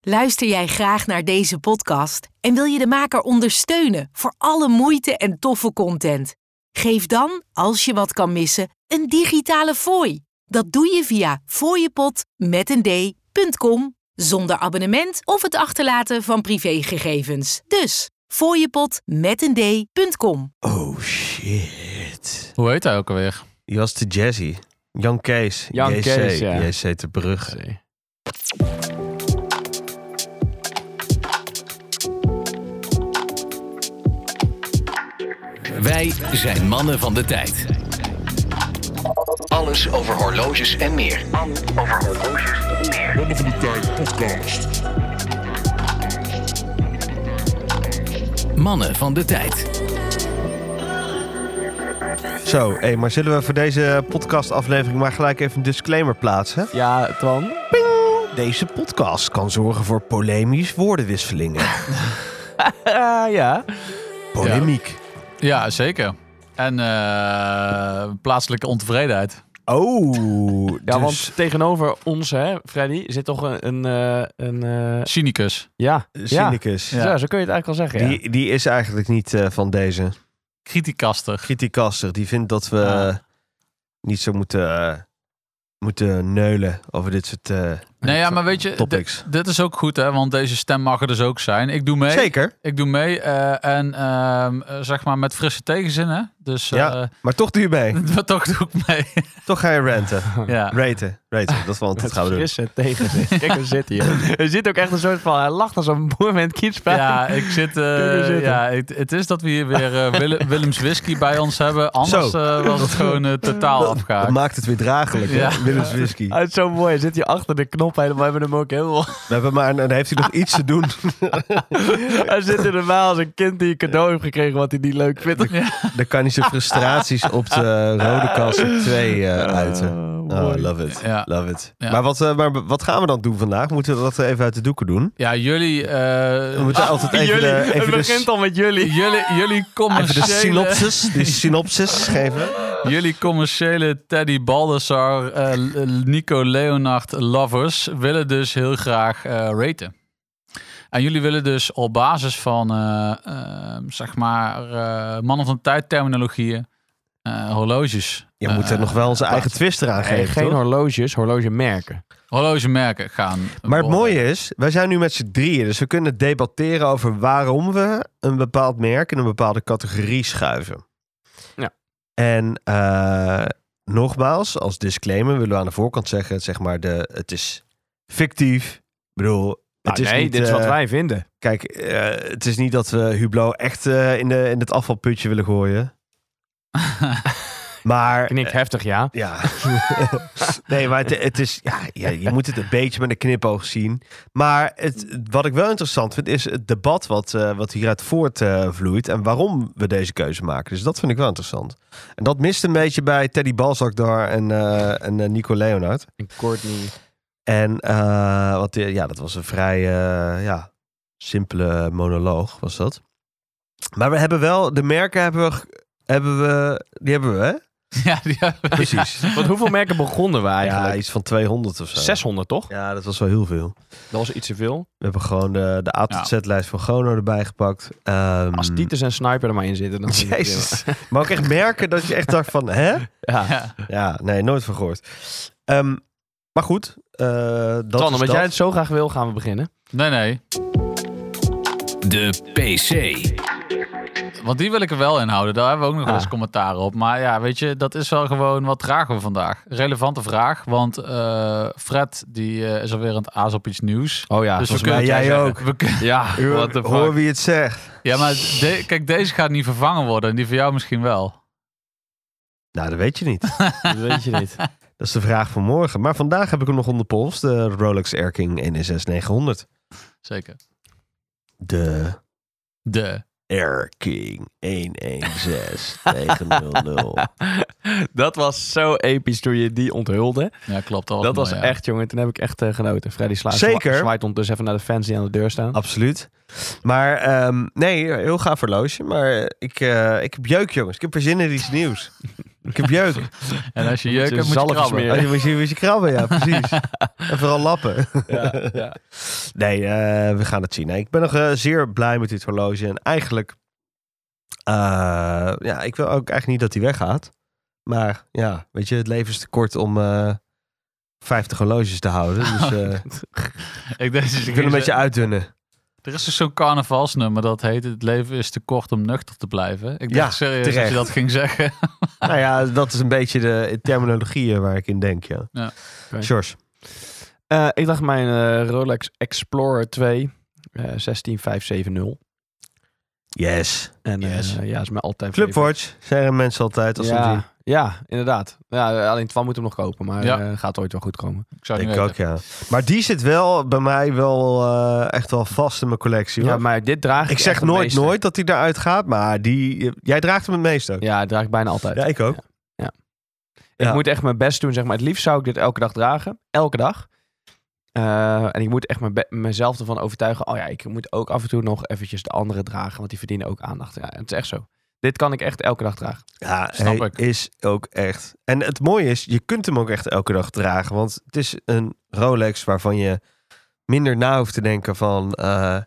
Luister jij graag naar deze podcast en wil je de maker ondersteunen voor alle moeite en toffe content? Geef dan, als je wat kan missen, een digitale fooi. Dat doe je via fooiepot.com zonder abonnement of het achterlaten van privégegevens. Dus fooiepot.com. Oh shit. Hoe heet hij ook alweer? Die was te jazzy. Jan Kees. Jan JC. Kees, ja. JC te Brugge. Wij zijn mannen van de tijd. Alles over horloges en meer. Mannen van de tijd. Zo, hé, maar zullen we voor deze podcastaflevering maar gelijk even een disclaimer plaatsen? Ja, Twan. Deze podcast kan zorgen voor polemisch woordenwisselingen. Eh, ja. Polemiek. Ja, zeker. En eh, plaatselijke ontevredenheid. Oh, Ja, dus want tegenover ons, hè, Freddy, zit toch een... een, eh, een eh, Cynicus. ja, ja. Cynicus. Ja. Zo, zo kun je het eigenlijk al zeggen. ja. Die, die is eigenlijk niet eh, van deze. Kritiekastig. Kritiekaster, die vindt dat we Ja. eh, niet zo moeten, eh, moeten neulen over dit soort eh, Nee, ja, maar weet je, topics. dit is ook goed, hè? Want deze stem mag er dus ook zijn. Ik doe mee. Zeker, Ik doe mee. eh, en ehm, eh, zeg maar met frisse tegenzin, hè? Dus eh, Ja. maar toch doe je mee. maar toch doe ik mee. Toch ga je ranten. ja. Raten, raten, dat, want dat gaan we doen. Frissen tegen zich. Kijk, we zitten hier. Er zit ook echt een soort van... Hij lacht als een boer met een kiespijn. Ja, ik zit. eh, Kun je zitten? ja, het, het is dat we hier weer eh, Wille- Willems whisky bij ons hebben. Anders Zo. eh, was het gewoon eh, totaal Dat afgehaakt. maakt het weer draaglijk, Ja. hè? Willems whisky. Hij is zo mooi. Hij zit hier achter de knop helemaal. We hebben hem ook helemaal... We hebben maar, dan heeft hij nog iets te doen. Hij zit er normaal als een kind die een cadeau heeft gekregen wat hij niet leuk vindt. Dan kan hij zijn frustraties op de rode kast 2 eh, uiten. Oh, Eh, mooi. love it. Ja. Love it. Ja. Maar, wat, eh, maar wat gaan we dan doen vandaag? Moeten we dat even uit de doeken doen? Ja, jullie. eh, We moeten altijd even, jullie, de, het even, de, begint al met jullie. Jullie, jullie even de commerciële, synopsis, die synopsis geven. jullie commerciële Teddy Baldassar, eh, Nico Leonard lovers willen dus heel graag eh, raten. En jullie willen dus op basis van, eh, eh, zeg maar, eh, mannen van tijd terminologieën, eh, horloges. Je moet er eh, nog wel onze eigen twist eraan Hey, geven, geen toch? horloges, horlogemerken. Horlogemerken gaan. Maar het worden. mooie is, wij zijn nu met z'n drieën. Dus we kunnen debatteren over waarom we een bepaald merk in een bepaalde categorie schuiven. Ja. En eh, nogmaals, als disclaimer willen we aan de voorkant zeggen, zeg maar, de, het is fictief. Ik bedoel, het Ah, is nee, niet, dit is wat eh, wij vinden. Kijk, eh, het is niet dat we Hublot echt eh, in, de, in het afvalputje willen gooien. maar... Knikt heftig, ja. Ja. nee, maar het, het is. Ja, ja, je moet het een beetje met een knipoog zien. Maar het, wat ik wel interessant vind, is het debat wat, eh, wat hieruit voortvloeit. en waarom we deze keuze maken. Dus dat vind ik wel interessant. En dat mist een beetje bij Teddy Balzak daar en, eh, en eh, Nico Leonard. En Courtney. En eh, wat, eh, ja, dat was een vrij eh, ja, simpele monoloog, was dat. Maar we hebben wel, de merken hebben we. g- Hebben we die hebben we, hè? Ja, die hebben- Precies. Want hoeveel merken begonnen we Ja, eigenlijk? iets van 200 of zo. 600 toch? Mm. Ja, dat was wel heel veel. eh, Dat was iets te veel. We hebben gewoon de, de A tot Z-lijst van Gono erbij gepakt. Ehm, Als Titus en Sniper er maar in zitten, dan vind ik het Jezus. maar ook echt merken dat je echt dacht van, hè? wel. Ja. ja. Ja, nee, nooit van gehoord. Ehm, maar goed, eh dat Tan, is omdat dat. jij het zo graag wil, gaan we beginnen. Nee, nee. De PC. Want die wil ik er wel in houden. Daar hebben we ook nog wel eens Ah. commentaar op. Maar ja, weet je, dat is wel gewoon wat dragen we vandaag. Relevante vraag, want eh, Fred die eh, is alweer aan het aas op iets nieuws. Oh ja, Dus we volgens kunnen Ah, mij jij zeggen, ook. we kun- Ja, Hoor- what the Hoor fuck. wie het zegt. ja, maar de- kijk, deze gaat niet vervangen worden. En die voor jou misschien wel. Nou, dat weet je niet. Dat weet je niet. Dat is de vraag van morgen. Maar vandaag heb ik hem nog onder pols. De Rolex Air King 16900. Zeker. De De. Air King 116900. Dat was zo episch toen je die onthulde. Ja, klopt. Dat was, dat was mooi, ja. echt, jongen. Toen heb ik echt eh, genoten. Freddy slaat Zeker. zwaait ondertussen even naar de fans die aan de deur staan. Absoluut. Maar ehm, nee, heel gaaf horloge. Maar ik, eh, ik heb jeuk, jongens. Ik heb er zin in iets nieuws. Ik heb jeuk. En als je jeuk je hebt, moet je zalf krabben. smeren. Als je moet je, moet je krabben, ja, precies. en vooral lappen. Nee, eh, we gaan het zien. Nee, ik ben nog eh, zeer blij met dit horloge. En eigenlijk, eh, ja, ik wil ook eigenlijk niet dat hij weggaat. Maar ja, weet je, het leven is te kort om eh 50 horloges te houden. Dus eh Ik denk, ik wil een beetje uitdunnen. Er is dus zo'n carnavalsnummer dat heet Het leven is te kort om nuchter te blijven. Ik Ja, dacht serieus dat terecht. je dat ging zeggen. nou ja, dat is een beetje de terminologie eh, waar ik in denk, ja. Ja. George. Eh, ik dacht mijn eh, Rolex Explorer 2, eh 16570. Yes. En eh, Yes. ja, is mijn altijd Clubwatch, zeggen mensen altijd als ze hem zien. ja, ja, inderdaad. Ja, alleen Twan moet hem nog kopen, maar Ja. eh, gaat ooit wel goed komen. Ik zou het Ik niet ook, weten. ja. Maar die zit wel bij mij wel eh, echt wel vast in mijn collectie. Ja, hoor. maar dit draag ik ik zeg echt het nooit, meeste. nooit dat hij eruit gaat, maar die, jij draagt hem het meest ook. Ja, dat draag ik bijna altijd. Ja, ik ook. Ja. Ik moet echt mijn best doen, zeg maar. Het liefst zou ik dit elke dag dragen. Elke dag. Eh, en ik moet echt mijn be- mezelf ervan overtuigen. Oh ja, ik moet ook af en toe nog eventjes de andere dragen. Want die verdienen ook aandacht. Ja, het is echt zo. Dit kan ik echt elke dag dragen. Ja, Snap hij ik. is ook echt. En het mooie is, je kunt hem ook echt elke dag dragen. Want het is een Rolex waarvan je minder na hoeft te denken van... eh,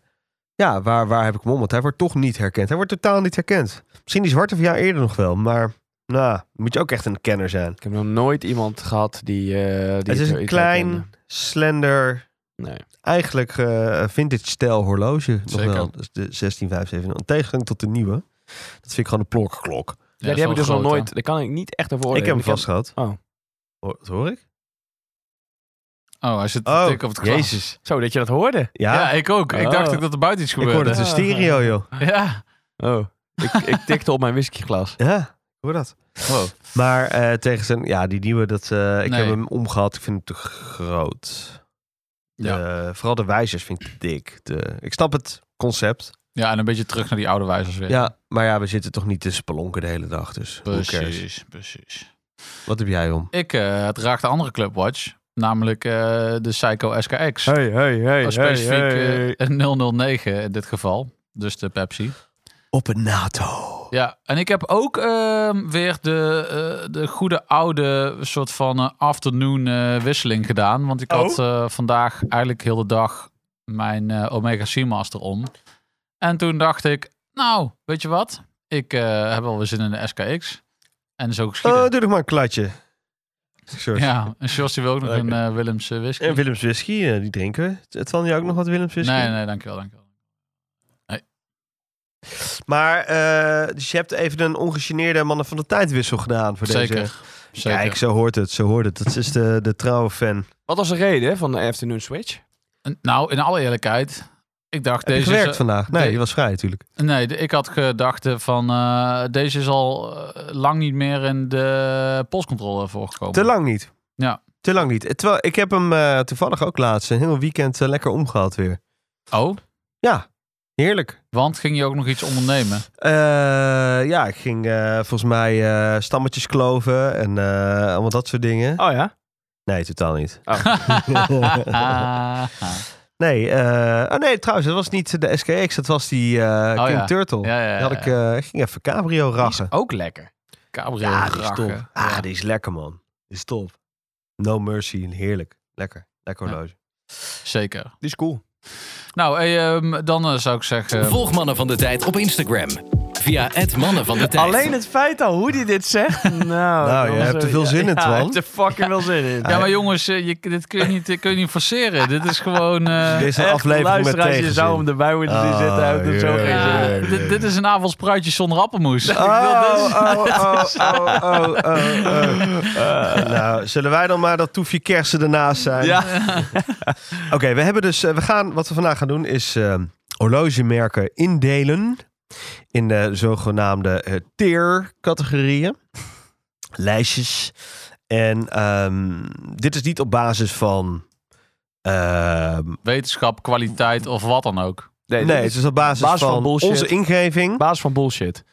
ja, waar, waar heb ik hem om? Want hij wordt toch niet herkend. Hij wordt totaal niet herkend. Misschien die zwarte van jou eerder nog wel, maar... Nou, moet je ook echt een kenner zijn. Ik heb nog nooit iemand gehad die... eh, die het is een iets klein, herkende. slender, Nee. eigenlijk eh, vintage stijl horloge Zeker. nog wel. Dus de 16570. Een tegenstelling tot de nieuwe. Dat vind ik gewoon een plokklok. Ja, die heb ik dat is dus nog wel groot, nooit... Daar kan ik niet echt over ik oordelen. heb hem vast gehad. Oh. Hoor, dat hoor ik? hè. Oh, hij zit Oh, te tikken op het glas. jezus. Zo, dat je dat hoorde. Ja, Ja, ik ook. Ik dacht Oh. ook dat er buiten iets ik hoor gebeurde. het een stereo, joh. Ja. Oh. ik, ik tikte op mijn whiskyglas. Ja, ik hoor dat. Maar eh tegen zijn, ja, die nieuwe, dat, eh, ik Nee. heb hem omgehad. Ik vind hem te groot. Ja. vooral de wijzers vind ik te dik. De, ik snap het concept. ja, en een beetje terug naar die oude wijzers weer. Ja, maar ja, we zitten toch niet te spelonken de hele dag. Dus who cares? precies, precies. Wat heb jij om? Ik eh draag de andere Clubwatch, namelijk eh, de Psycho SKX. Hey, hey, hey, Oh, specifiek eh, een 009 in dit geval. Dus de Pepsi. Op een NATO. Ja, en ik heb ook ehm, weer de, eh, de goede oude soort van eh, afternoon eh, wisseling gedaan. Want ik Oh. had eh, vandaag eigenlijk heel de dag mijn eh, Omega Seamaster om. En toen dacht ik, nou, weet je wat? Ik eh, heb wel weer zin in de SKX. En zo geschieden. Oh, doe nog maar een klatje. Sorry. ja, en Sjors die wil ook nog Oké. een eh, Willems eh, whisky. En Willems whisky, eh, die drinken we. Twan, jij ook nog wat Willems whisky? nee, nee, dankjewel, dankjewel. Maar eh, dus je hebt even een ongegeneerde mannen van de tijdwissel gedaan voor deze. Zeker, zeker. Kijk, zo hoort het, zo hoort het. Dat is de, de trouwe fan. Wat was de reden van de Afternoon Switch? En- Nou, in alle eerlijkheid, ik dacht Heb je deze... gewerkt is, vandaag? Nee, nee. je was vrij natuurlijk. Nee, de- ik had gedacht eh, van eh, deze is al eh, lang niet meer in de postcontrole voorgekomen. Te lang niet. Ja. Te lang niet. Eh, Terwijl ik heb hem eh, toevallig ook laatst een heel weekend eh, lekker omgehad weer. Oh, Ja, heerlijk. want ging je ook nog iets ondernemen? Eh, ja, ik ging eh, volgens mij eh, stammetjes kloven en eh, allemaal dat soort dingen. Oh ja? Nee, totaal niet. ja, Nee, eh, oh nee, trouwens, dat was niet de SKX, dat was die eh Oh King ja. Turtle. ja, ja. Die had ik, eh, ik ging even cabrio rachen. Ook lekker. Cabrio Ja, die is rakken. top. Ah, Ja. die is lekker, man. Die is top. No mercy, heerlijk. Lekker, lekker Ja. horloge. Zeker. Die is cool. Nou, hey, ehm, dan eh, zou ik zeggen... Volg Mannen van de Tijd op Instagram. Via het Mannen van de Tijd. Alleen het feit al hoe hij dit zegt. Nou, Nou, je hebt er veel zin in, Twan. Ja, ik heb er fucking veel zin in. Ja, maar jongens, eh, je, dit kun je niet, dit kun je niet forceren. dit is gewoon... eh, Dit is een Echt, aflevering met luisteraars, je tegenzin. zou hem erbij moeten zien Ah, zitten. Hij heeft het zo heerlijk. geen zin ja, in. dit, dit is een avond spruitjes zonder appelmoes. Ik wil Oh, dit- oh, oh, oh, oh, oh, oh. Eh, nou, zullen wij dan maar dat toefje kersen ernaast zijn? Ja. Oké, we hebben dus, eh, we gaan, wat we vandaag gaan doen is eh, horlogemerken indelen in de zogenaamde eh, tier-categorieën, lijstjes. En ehm, dit is niet op basis van, ehm, Wetenschap, kwaliteit of wat dan ook. nee, dit het is is op basis basis van van bullshit. onze ingeving. baas van bullshit.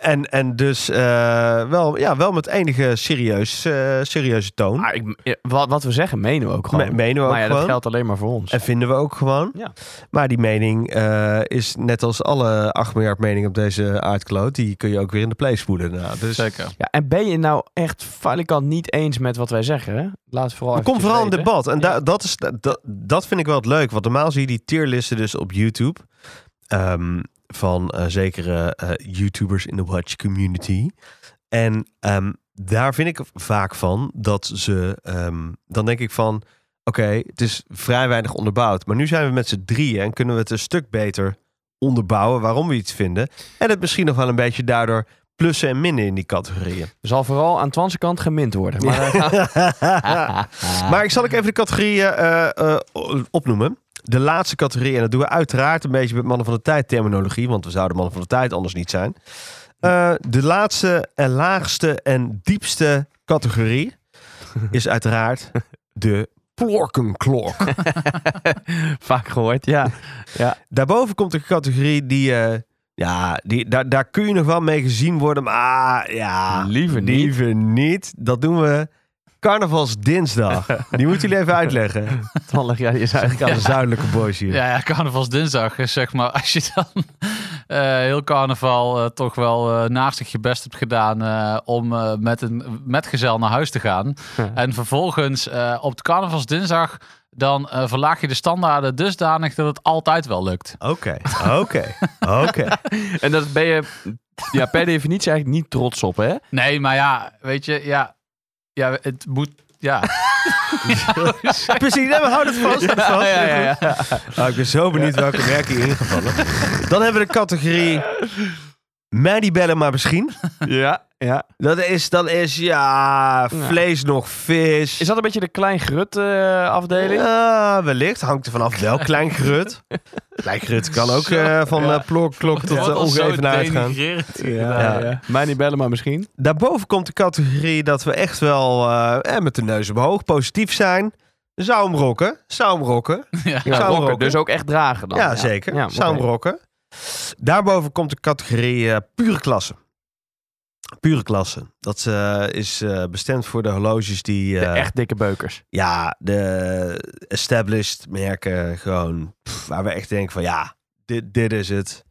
en, en dus eh, wel, ja, wel met enige serieus, eh, serieuze toon. Maar ik, Ah, ja, wat, wat we zeggen, menen we ook gewoon. Me- menen we maar ook ja, gewoon. dat geldt alleen maar voor ons. En vinden we ook gewoon. Ja. Maar die mening eh, is net als alle 8 miljard meningen op deze aardkloot. Die kun je ook weer in de play spoelen. Nou, dus Zeker. Ja, en ben je nou echt falikant niet eens met wat wij zeggen? Hè? Laat het vooral Er komt eventjes vooral een weten. debat. En Ja. da- dat, is, dat, dat vind ik wel het leuk. Want normaal zie je die tierlisten dus op YouTube. ehm, van eh, zekere eh, YouTubers in de Watch community. En ehm, daar vind ik vaak van dat ze... ehm, dan denk ik van... Oké, het is vrij weinig onderbouwd. Maar nu zijn we met z'n drieën en kunnen we het een stuk beter onderbouwen waarom we iets vinden. En het misschien nog wel een beetje daardoor plussen en minnen in die categorieën. Er zal vooral aan Twanse kant gemind worden. Maar, Maar ik zal ook even de categorieën eh, eh, opnoemen. De laatste categorie, en dat doen we uiteraard een beetje met Mannen van de Tijd terminologie, want we zouden Mannen van de Tijd anders niet zijn. Eh, de laatste en laagste en diepste categorie is uiteraard de plorkenklok. eh, Vaak gehoord, ja. Daarboven komt een categorie die, eh, ja, die, daar, daar kun je nog wel mee gezien worden, maar ja, Liever niet. liever niet. Dat doen we carnavalsdinsdag. Die moeten jullie even uitleggen. Twanlig, ja, die is eigenlijk Eigenlijk aan de zuidelijke boys hier. Ja, ja, carnavalsdinsdag is zeg maar als je dan eh, heel carnaval eh, toch wel eh, naastig je best hebt gedaan eh, om eh, met een metgezel naar huis te gaan. Ja. En vervolgens eh, op de carnavalsdinsdag dan eh, verlaag je de standaarden dusdanig dat het altijd wel lukt. Oké, oké, oké. En daar ben je ja, per definitie eigenlijk niet trots op, hè? Oh, Nee, maar ja, weet je, ja, ja het moet, ja. Precies, nee, maar hou het vast. hou het vast. Oh, ik ben zo benieuwd welke werken hier ingevallen. Dan hebben we de categorie... Mij die bellen maar misschien. ja, ja. Dat is, dat is ja, Ja. vlees nog vis. Is dat een beetje de klein grut eh, afdeling? Ja, wellicht. Hangt er vanaf wel. Klein gerut. Klein gerut kan ook eh, van eh, plorklok tot Wat uh, al zo ongevenaard gaan. denigrerend. ja. Mij niet bellen, maar misschien. Daarboven komt de categorie dat we echt wel eh, eh, met de neus omhoog positief zijn. Zou hem rocken. Zou hem rokken. Ja. Zou hem rocken, rocken. Dus ook echt dragen dan. ja, zeker. Ja, Zou hem oké. rocken. Daarboven komt de categorie eh, pure klasse. Pure klasse. Dat eh, is eh, bestemd voor de horloges die... De eh, echt dikke beukers. Ja, de established merken gewoon pff, waar we echt denken van ja, dit, dit is het.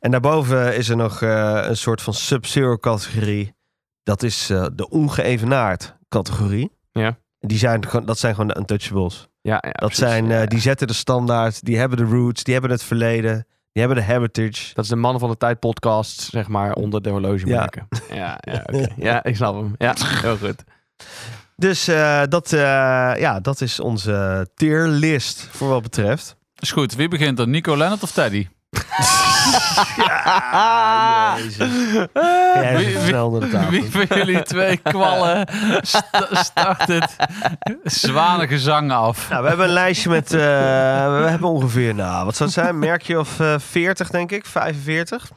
En daarboven is er nog eh, een soort van sub-zero categorie. Dat is eh, de ongeëvenaard categorie. Ja. Die zijn, gewoon- dat zijn gewoon de untouchables. Ja, ja, dat precies. zijn, eh, Ja, ja. Die zetten de standaard, die hebben de roots, die hebben het verleden, die hebben de heritage. Dat is de Mannen van de Tijd podcast, zeg maar, onder de horloge maken. Ja, ja, oké. ja ik snap hem. Ja, heel goed. Dus eh, dat, eh, ja, dat is onze tier list voor wat betreft. Is goed, wie begint dan? Nico Lennart of Teddy? Ah, Eh, Ja, Wie- even wie- snel onder de tafel. Wie van jullie twee kwallen sta- start het zwanengezang af? Nou, we hebben een lijstje met. eh, we hebben ongeveer, nou, wat zou het zijn? Merkje of eh 40, denk ik, 45.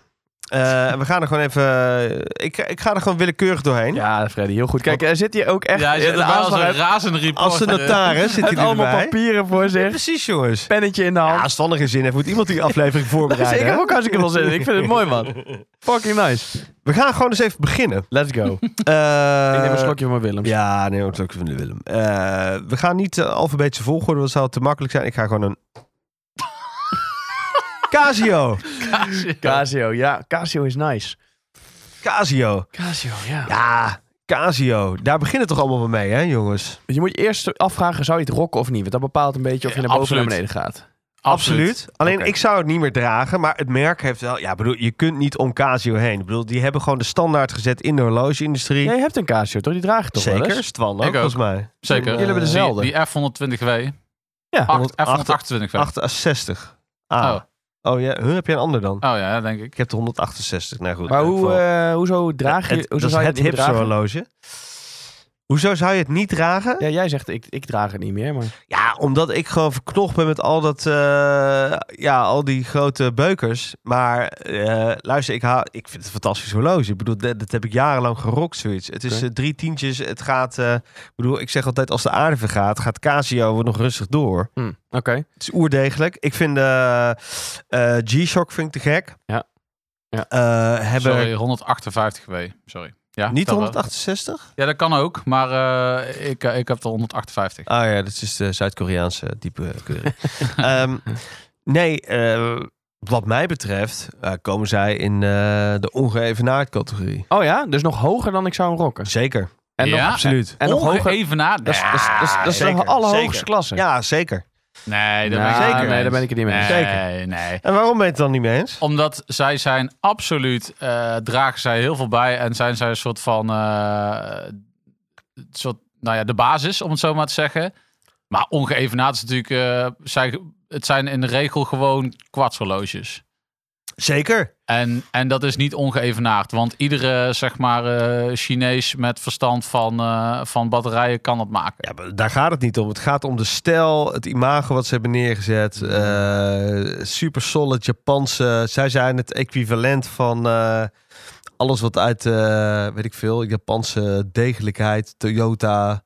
Eh, we gaan er gewoon even. eh, ik, ik ga er gewoon willekeurig doorheen. Ja, Freddy, heel goed. Kijk, er zit hier ook echt... ja, hij zit de erbij als aanslag- een razende reporter. Als de notaris zit heeft hij er allemaal eh, allemaal papieren voor zich. Precies, jongens. Pennetje in de hand. Ja, als het andere zin heeft, moet iemand die aflevering Dus ik voorbereiden. heb hè? ook hartstikke veel zin in. Ik vind het mooi, man. Fucking nice. We gaan gewoon eens even beginnen. Let's go. Eh, ik neem een slokje van Willem. Ja, nee, een slokje van de Willem. Eh, we gaan niet eh, alfabetische volgorde, want dat zou te makkelijk zijn. Ik ga gewoon een. Casio. Casio, ja. Casio is nice. Casio. Casio, Ja, Casio. Daar begint het toch allemaal mee, hè, jongens? Dus Je moet je eerst afvragen, zou je het rocken of niet? Want dat bepaalt een beetje of je Ja, naar boven of naar absoluut. beneden gaat. Alleen Oké. ik zou het niet meer dragen, maar het merk heeft wel. Ja, bedoel, je kunt niet om Casio heen. Ik bedoel, die hebben gewoon de standaard gezet in de horlogeindustrie. Jij hebt een Casio, toch? Die draagt het toch wel Zeker, eens? Stwan ook, Ik ook. volgens mij. Zeker. Jullie hebben dezelfde. Die, die F120W. Ja. Acht- F128W. 168. Ah. Oh. Oh. ja, huh, heb jij een ander dan? Oh ja, denk ik. Ik heb de 168. Nou goed. Maar in hoe, ieder geval. eh, hoezo draag je... Het- hoezo dat zou is het je niet meer hipste dragen? horloge. Hoezo zou je het niet dragen? Ja, jij zegt, ik, ik draag het niet meer, maar... Ja, omdat ik gewoon verknocht ben met al dat, eh, ja, al die grote beukers. Maar eh, luister, ik, hou, ik vind het een fantastisch horloge. Ik bedoel, dat, dat heb ik jarenlang gerokt, zoiets. Het is Oké. eh, drie tientjes, het gaat, eh, ik bedoel, ik zeg altijd als de aarde vergaat, gaat Casio nog rustig door. Hm, Oké. Het is oerdegelijk. Ik vind eh eh, G-Shock vind ik te gek. Ja. Ja. Eh, hebben Sorry, 158 W. Sorry. Ja, niet dat wel. 168? Ja, dat kan ook, maar eh, ik, eh, ik heb de 158. Ah ja, dat is de Zuid-Koreaanse diepe keuring. Ehm, nee, eh, wat mij betreft eh, komen zij in eh, de ongeëvenaard categorie. Oh ja, dus nog hoger dan ik zou hem rocken. Zeker. En Ja, nog, Absoluut. en nog hoger. even na. Dat is, dat is, dat is, dat is Zeker, de allerhoogste zeker. klasse. Ja, zeker. Nee, daar ben ik Nou, het niet mee nee, daar ben eens. ik het niet mee eens. Nee, Zeker. nee. En waarom ben je het dan niet mee eens? Omdat zij zijn absoluut, eh, dragen zij heel veel bij en zijn zij een soort van, eh, een soort, nou ja, de basis om het zo maar te zeggen. Maar ongeëvenaard is natuurlijk, eh, zij, het zijn in de regel gewoon kwartshorloges. Zeker. En, en dat is niet ongeëvenaard, want iedere zeg maar eh, Chinees met verstand van, eh, van batterijen kan dat maken. Ja, maar daar gaat het niet om. Het gaat om de stijl, het imago wat ze hebben neergezet. eh super solid Japanse. Zij zijn het equivalent van eh, alles wat uit, eh, weet ik veel, Japanse degelijkheid, Toyota.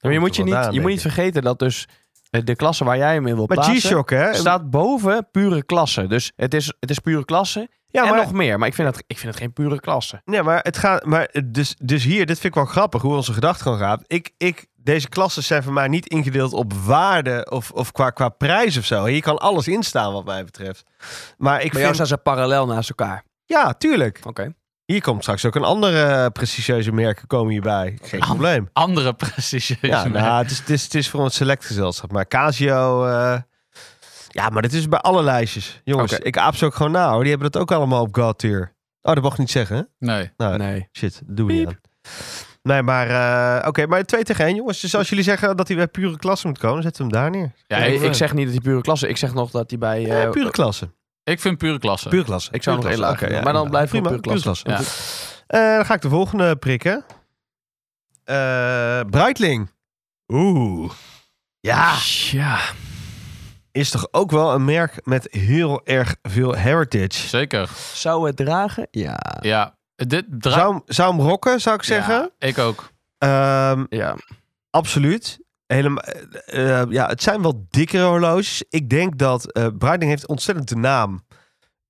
Maar je moet, je, niet, je moet niet vergeten. vergeten dat dus eh, de klasse waar jij hem in wil Maar plaatsen... G-Shock, hè? staat boven pure klasse. Dus het is, het is pure klasse ja, en maar, nog meer. Maar ik vind, dat, ik vind het geen pure klasse. ja, maar het gaat. Maar dus, dus hier, dit vind ik wel grappig hoe onze gedachtegang gaat. Ik, ik, deze klassen zijn voor mij niet ingedeeld op waarde of, of qua, qua prijs of zo. Hier kan alles in staan, wat mij betreft. Maar ik Bij jou vind. staan ze parallel naast elkaar. Ja, tuurlijk. Oké. Hier komt straks ook een andere eh, prestigieuze merken komen hierbij. Geen probleem. Andere prestigieuze Ja, merken. nou, het, is, het, is, het is voor een select gezelschap. Maar Casio... eh, ja, maar dit is bij alle lijstjes. Jongens, Oké. ik aap ze ook gewoon na hoor. Die hebben dat ook allemaal op God Tier. Oh, dat mag ik niet zeggen. hè? Nee. Nou, Nee. shit, dat doen we niet aan. Nee, maar... eh, Oké, maar 2 tegen 1 jongens. Dus als jullie zeggen dat hij bij pure klasse moet komen, zetten we hem daar neer. Ja, Nee, ik, ik, zeg niet dat hij pure klasse... Ik zeg nog dat hij bij... eh, Eh, pure klasse. ik vind pure klasse. Pure klasse. Ik zou nog Pure heel klasse. laag Oké, willen, maar dan blijven we prima, op pure klasse. Ja. Eh, dan ga ik de volgende prikken. Eh Breitling. Oeh. Ja. Ah. Ja. Is toch ook wel een merk met heel erg veel heritage. Zeker. Zou het dragen? Ja. Ja. Dit draait. Zou, hem- zou hem rocken, zou ik zeggen. Ja, ik ook. Ehm, Ja. absoluut. Helemaal, eh, eh, ja, het zijn wel dikkere horloges. Ik denk dat eh Breitling heeft ontzettend de naam.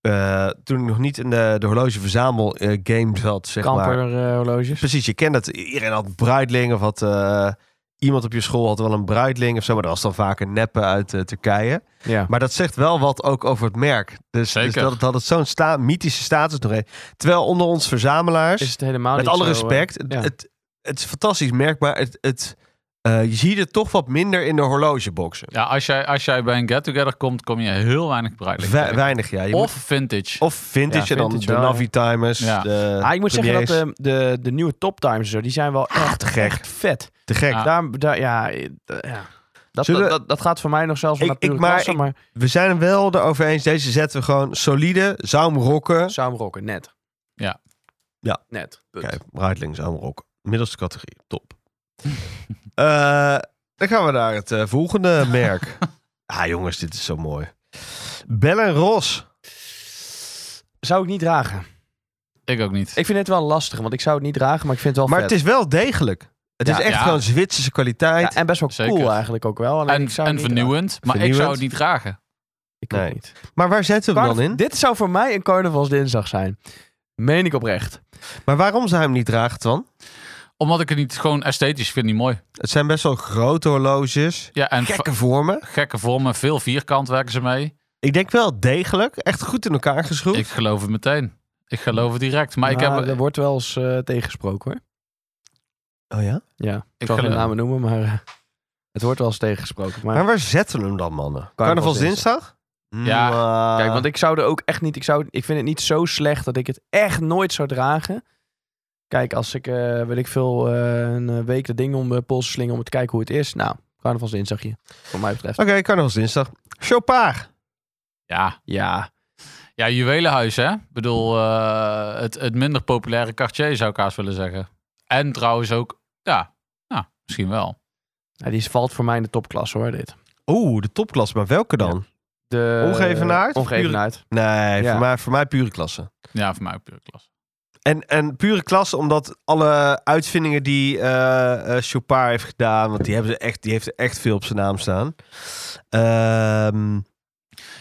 Eh, toen ik nog niet in de, de horlogeverzamel eh, game zat, zeg maar. Kamper eh, horloges. Precies, je kent dat. Iedereen had bruidling of had... eh, iemand op je school had wel een bruidling of zo. Maar dat was dan vaak een neppe uit eh, Turkije. Ja. Maar dat zegt wel wat ook over het merk. Dus, dus Zeker. dat het, had het zo'n sta mythische status nog heeft. Terwijl onder ons verzamelaars... Is het helemaal met niet alle zo, eh, respect, ja. het, het, het is fantastisch merk. Maar het, het, eh, je ziet het toch wat minder in de horlogeboxen. Ja, als jij, als jij bij een get-together komt, kom je heel weinig bruidelijk We- tegen. weinig, ja. Je Of moet- vintage. of vintage, Ja, en dan vintage de wel, ja. Navi-timers. Ja. de Ah, ik moet zeggen dat premiers. eh, de, de nieuwe toptimes en zo, die zijn wel echt, te gek. echt vet. Te gek. Ah. Daar, daar, ja, eh, d- ja. Dat, Zullen- dat, dat, dat gaat voor mij nog zelfs van Ik- naar pure ik- maar klasse, ik- maar We zijn er wel erover eens. Deze zetten we gewoon solide. Zou hem rocken. zou hem rocken. Net. Ja. Ja. Net. Punt. Oké, Breitling zou hem rocken. Middelste categorie. Top. Eh, dan gaan we naar het eh, volgende merk. ah jongens, dit is zo mooi. Bell Ros. Zou ik niet dragen. Ik ook niet. Ik vind het wel lastig, want ik zou het niet dragen, maar ik vind het wel Maar vet. het is wel degelijk. Het Ja, is echt ja. gewoon Zwitserse kwaliteit. Ja, en best wel Zeker. cool eigenlijk ook wel. alleen en ik zou en het niet dragen. vernieuwend, maar ik zou eh, Vernieuwend. het niet dragen. Ik ook Nee. niet. Maar waar zetten we hem dan Carnaval- in? Dit zou voor mij een carnavalsdinsdag zijn. Meen ik oprecht. Maar waarom zou hij hem niet dragen dan? Omdat ik het niet gewoon esthetisch vind, niet mooi. Het zijn best wel grote horloges. Ja, en va- Gekke vormen. gekke vormen, veel vierkant werken ze mee. Ik denk wel degelijk. Echt goed in elkaar geschroefd. Ik geloof het meteen. Ik geloof het direct. Maar Nou, ik Er heb... wordt wel eens eh, tegensproken hoor. Oh ja? Ja, ik Ik zal geen geloof- namen noemen, maar eh, het wordt wel eens tegensproken. Maar, Maar waar zetten we hem dan, mannen? Carnavalsdinsdag? Ja. Mwah. kijk, want ik zou er ook echt niet... Ik, zou, ik vind het niet zo slecht dat ik het echt nooit zou dragen. Kijk, als ik, eh weet ik veel, eh, een week dat ding om mijn pols sling om te kijken hoe het is. Nou, carnavalsdinsdagje, wat mij betreft. Oké, carnavalsdinsdag. Chopard. Ja, Ja, ja juwelenhuis, hè? Ik bedoel, eh, het, het minder populaire Cartier zou ik haast willen zeggen. En trouwens ook, ja, nou, misschien wel. Ja, die valt voor mij in de topklasse hoor, dit. Oeh, de topklas, maar welke dan? De, Ongeëvenaard? Ongeëvenaard. Nee, Ja. voor, mij, voor mij pure klasse. Ja, voor mij ook pure klasse. En, en pure klasse omdat alle uitvindingen die eh eh, Chopard heeft gedaan, want die, hebben ze echt, die heeft er echt veel op zijn naam staan. Ehm,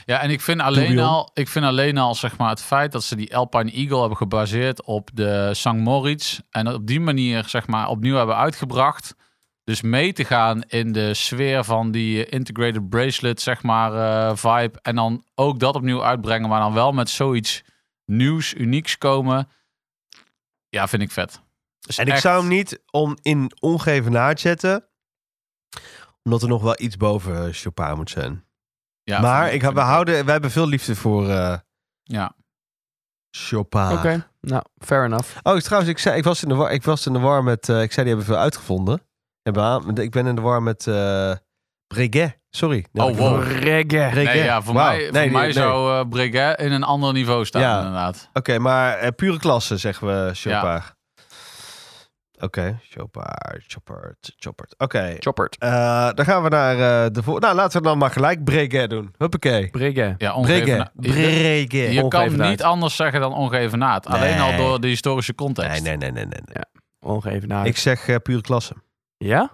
Ja, en ik vind alleen Dubiel. al, ik vind alleen al zeg maar, het feit dat ze die Alpine Eagle hebben gebaseerd op de St. Moritz. En op die manier zeg maar, opnieuw hebben uitgebracht. Dus mee te gaan in de sfeer van die eh, integrated bracelet, zeg maar, eh, vibe. En dan ook dat opnieuw uitbrengen, maar dan wel met zoiets nieuws, unieks komen. Ja, vind ik vet. Dus En ik echt- zou hem niet on, in ongeëvenaard zetten. Omdat er nog wel iets boven eh, Chopin moet zijn. ja, vind maar ik, vind we, houden, we hebben veel liefde voor eh, Ja. Chopin. Oké, nou, fair enough. Oh, trouwens, ik, zei, ik, was in de war, ik was in de war met... eh, ik zei, die hebben veel uitgevonden. Hebben aan- Ik ben in de war met eh Breguet. Sorry. Nee, Oh, ik- wow. Reggae. Breguet. Nee, ja, voor Wauw. mij, Nee, voor die- mij nee. zou eh Breguet in een ander niveau staan, Ja. inderdaad. Oké, maar eh, pure klasse, zeggen we Chopin. Oké, Chopin, Chopin, Chopin. Oké, Choppert. eh, dan gaan we naar eh, de volgende. Nou, laten we dan maar gelijk Breguet doen. Huppakee. Reggae. Ja, Breguet. ongevenaard. Breguet. Je kan ongeëvenaard. niet anders zeggen dan ongeëvenaard. Nee. Alleen al door de historische context. Nee, nee, nee, nee. nee. nee. Ongeëvenaard. Ik zeg eh, pure klasse. Ja?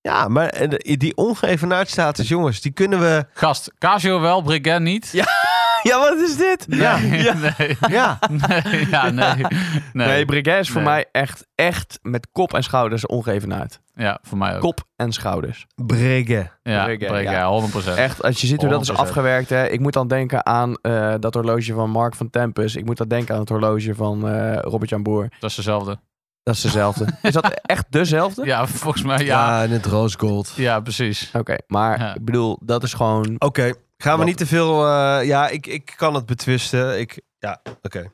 Ja, maar eh, de- die ongeëvenaard status, jongens, die kunnen we... Gast, Casio wel, Breguet niet. Ja. Ja, wat is dit? Ja. Nee, ja. nee, Ja, nee, ja, nee, nee. Nee, Breguet is voor Nee. mij echt, echt met kop en schouders ongeëvenaard. Ja, voor mij ook. Kop en schouders. Breguet. ja, Breguet, Breguet, ja. 100%. Echt, als je ziet hoe dat is 100%. afgewerkt, hè. Ik moet dan denken aan eh, dat horloge van Mark van Tempus. Ik moet dan denken aan het horloge van eh, Robert-Jan Boer. Dat is dezelfde. Dat is dezelfde. is dat echt dezelfde? Ja, volgens mij, ja. en het roosgold. Ja, precies. Oké, maar Ja. ik bedoel, dat is gewoon... Oké, gaan we Wat- niet te veel... eh, ja, ik, ik kan het betwisten. Ik, ja, oké.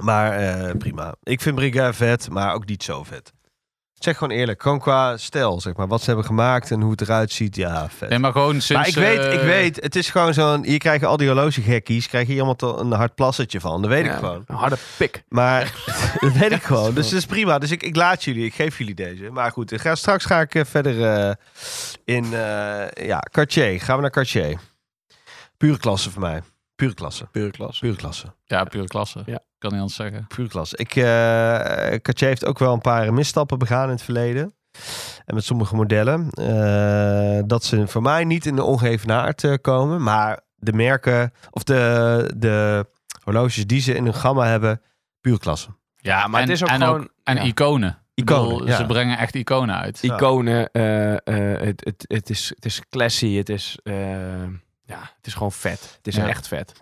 Maar eh, prima. Ik vind Breguet vet, maar ook niet zo vet. Zeg gewoon eerlijk, gewoon qua stijl, zeg maar. Wat ze hebben gemaakt en hoe het eruit ziet, ja, vet. Nee, maar gewoon sinds... maar ik weet, ik eh, weet, het is gewoon zo'n... Hier krijgen al die horlogegekkies, krijg je iemand een hard plassetje van. Dat weet Ja, ik gewoon. eh, Een harde pik. Maar dat weet ik gewoon. Dus dat is prima. Dus ik, ik laat jullie. Ik geef jullie deze. Maar goed, ik ga, straks ga ik eh, verder eh, in eh, ja, Cartier. Gaan we naar Cartier. Pure klasse voor mij. Pure klasse. Pure klas. Pure klasse. Ja, pure klasse. Ja. Kan niet anders zeggen. Pure klasse. Ik, eh, Cartier heeft ook wel een paar misstappen begaan in het verleden. En met sommige modellen. Eh, dat ze voor mij niet in de ongeëvenaard eh komen. Maar de merken of de, de horloges die ze in hun gamma hebben. Pure klasse. Ja, Maar en, het is ook en gewoon... en ja. iconen. Ik Iconen, bedoel, ja. Ze brengen echt iconen uit. Ja. iconen. eh, eh, het, het, het, is, het is classy. Het is, eh, ja, het is gewoon vet. Het is Ja. echt vet.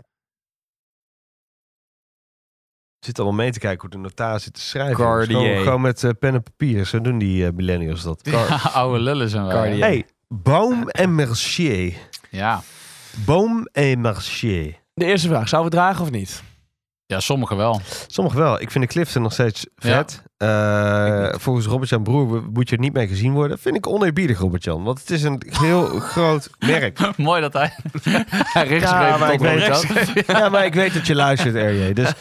zit allemaal mee te kijken hoe de notaris zit te schrijven. Cartier. Gewoon, gewoon met eh, pen en papier. Zo doen die eh, millennials dat. Ja, oude lullen zijn wij. Cartier. hè? Hey, Baum en Mercier. Ja. Boom en Mercier. De eerste vraag. Zouden we het dragen of niet? ja, sommigen wel. Sommige wel. Ik vind de Clifton nog steeds vet. Eh, volgens Robert-Jan Broer moet je er niet mee gezien worden. Vind ik oneerbiedig, Robert-Jan. Want het is een heel groot merk. Mooi dat hij... Rechtsgreep maar ik tot weet- Robert-Jan. ja, maar ik weet dat je luistert, RJ. Dus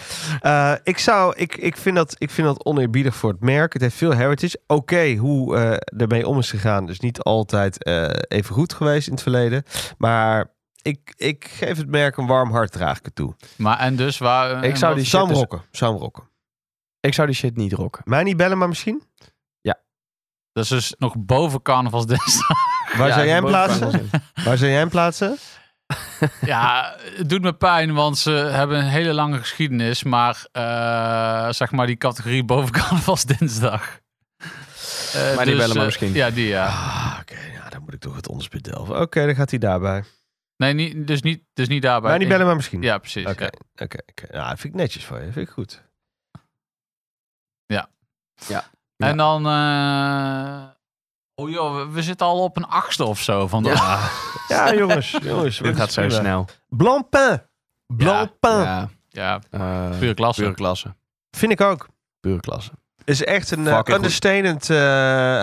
eh, ik, zou, ik, ik, vind dat, ik vind dat oneerbiedig voor het merk. Het heeft veel heritage. Oké, hoe eh ermee om is gegaan is niet altijd eh, even goed geweest in het verleden. Maar ik, ik geef het merk een warm hart draag ik het toe. Maar en dus waar... Ik en zou wat- dus- die- shit dus- is- Saamrokken, saamrokken. Ik zou die shit niet rocken. Mij niet bellen, maar misschien? Dat is dus nog boven carnavalsdienst. Waar Ja, zou jij hem boven plaatsen? kan wel zin. Waar zou jij hem plaatsen? ja, het doet me pijn, want ze hebben een hele lange geschiedenis. Maar eh, zeg maar die categorie boven carnavalsdinsdag. dinsdag. Maar die bellen maar misschien. dus, eh, Ja, die ja. Ah, Oké, ja, dan moet ik toch het onderspit delven. Oké, dan gaat hij daarbij. Nee, niet, dus, niet, dus niet daarbij. Mij niet bellen, maar misschien. Ja, precies. Oké, ja. oké. oké. Nou, dat vind ik netjes voor je. vind ik goed. En dan... eh, oh joh, we, we zitten al op een achtste of zo vandaag. Ja, ja jongens. jongens Dit gaat zo snel. Blancpain. Blancpain. Ja. Ja, eh, puur klasse. Pure klasse. Vind ik ook. Pure klasse. Is echt een Fucking eh, goed. understatement eh,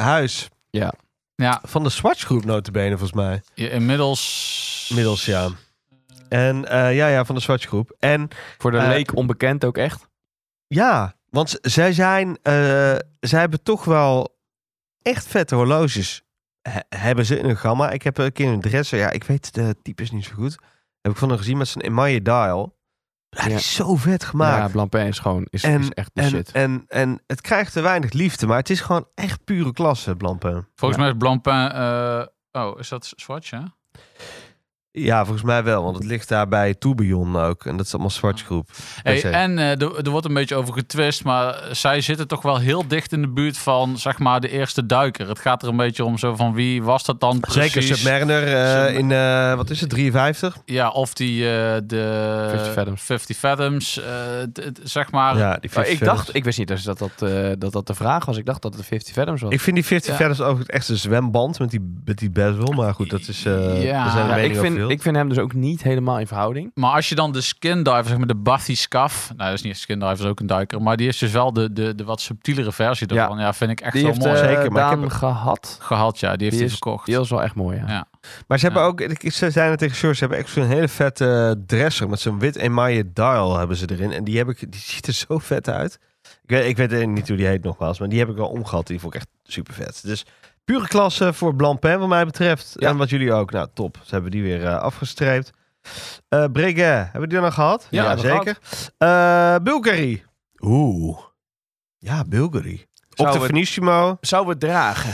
huis. Ja. Ja. Van de Swatch Groep notabene volgens mij. Ja, Inmiddels... Middels, ja. En eh, ja, ja, van de Swatch Groep. En Voor de Eh, leek onbekend ook echt. ja, want z- zij zijn, eh, zij hebben toch wel echt vette horloges. He- hebben ze in een gamma. Ik heb een keer een dresser, ja, ik weet de type is niet zo goed. Heb ik van haar gezien met zijn emaille dial. Ja, die Ja. is zo vet gemaakt. ja, Blancpain is gewoon is, En- is echt de En, shit. en, en het krijgt te weinig liefde, maar het is gewoon echt pure klasse, Blancpain. Volgens mij is Blancpain... eh, oh, is dat Swatch, hè? Ja, volgens mij wel. Want het ligt daar bij Tourbillon ook. En dat is allemaal zwart groep. Hey, Per se. en eh, er, er wordt een beetje over getwist, maar zij zitten toch wel heel dicht in de buurt van zeg maar de eerste duiker. Het gaat er een beetje om zo van wie was dat dan precies? Zeker Submariner eh, Sub- in, eh, wat is het, 53? Ja, of die eh, de 50 Fathoms. 50 Fathoms, eh, t- t- zeg maar. ja, die Maar 50 ik dacht, ik wist niet eens dat dat, eh, dat dat de vraag was. Ik dacht dat het 50 Fathoms was. Ik vind die 50 Ja. verders ook echt een zwemband met die, met die bezel. Maar goed, dat is... eh Ja. daar zijn meningen Ja, ik, over vind, verdeeld. ik vind hem dus ook niet helemaal in verhouding. Maar als je dan de skin diver, zeg maar de Bathy Scaf, nou dat is niet een skin diver, dat is ook een duiker, maar die is dus wel de, de, de wat subtielere versie Ja. daarvan. Ja, vind ik echt Die wel heeft mooi. eh, Zeker, maar ik Daan heb- gehad. Gehad, ja, die heeft die hij is, verkocht. Die is wel echt mooi, ja. Ja. Maar ze hebben Ja. ook, ik- ze zijn er tegen George, ze hebben echt zo'n hele vette dresser met zo'n wit emaille dial hebben ze erin. En die, heb ik, die ziet er zo vet uit. Ik weet, ik weet eh, niet hoe die heet nogmaals, maar die heb ik wel omgehad. Die vond ik echt super vet. Dus pure klasse voor Blancpain wat mij betreft. Ja. En wat jullie ook. Nou, top. Ze hebben die weer eh, afgestreept. Eh Breguet, hebben we die dan al gehad? Ja, hebben we zeker. Eh Bulgari. Oeh. Ja, Bulgari. Op de we- Finissimo. Zou we het dragen?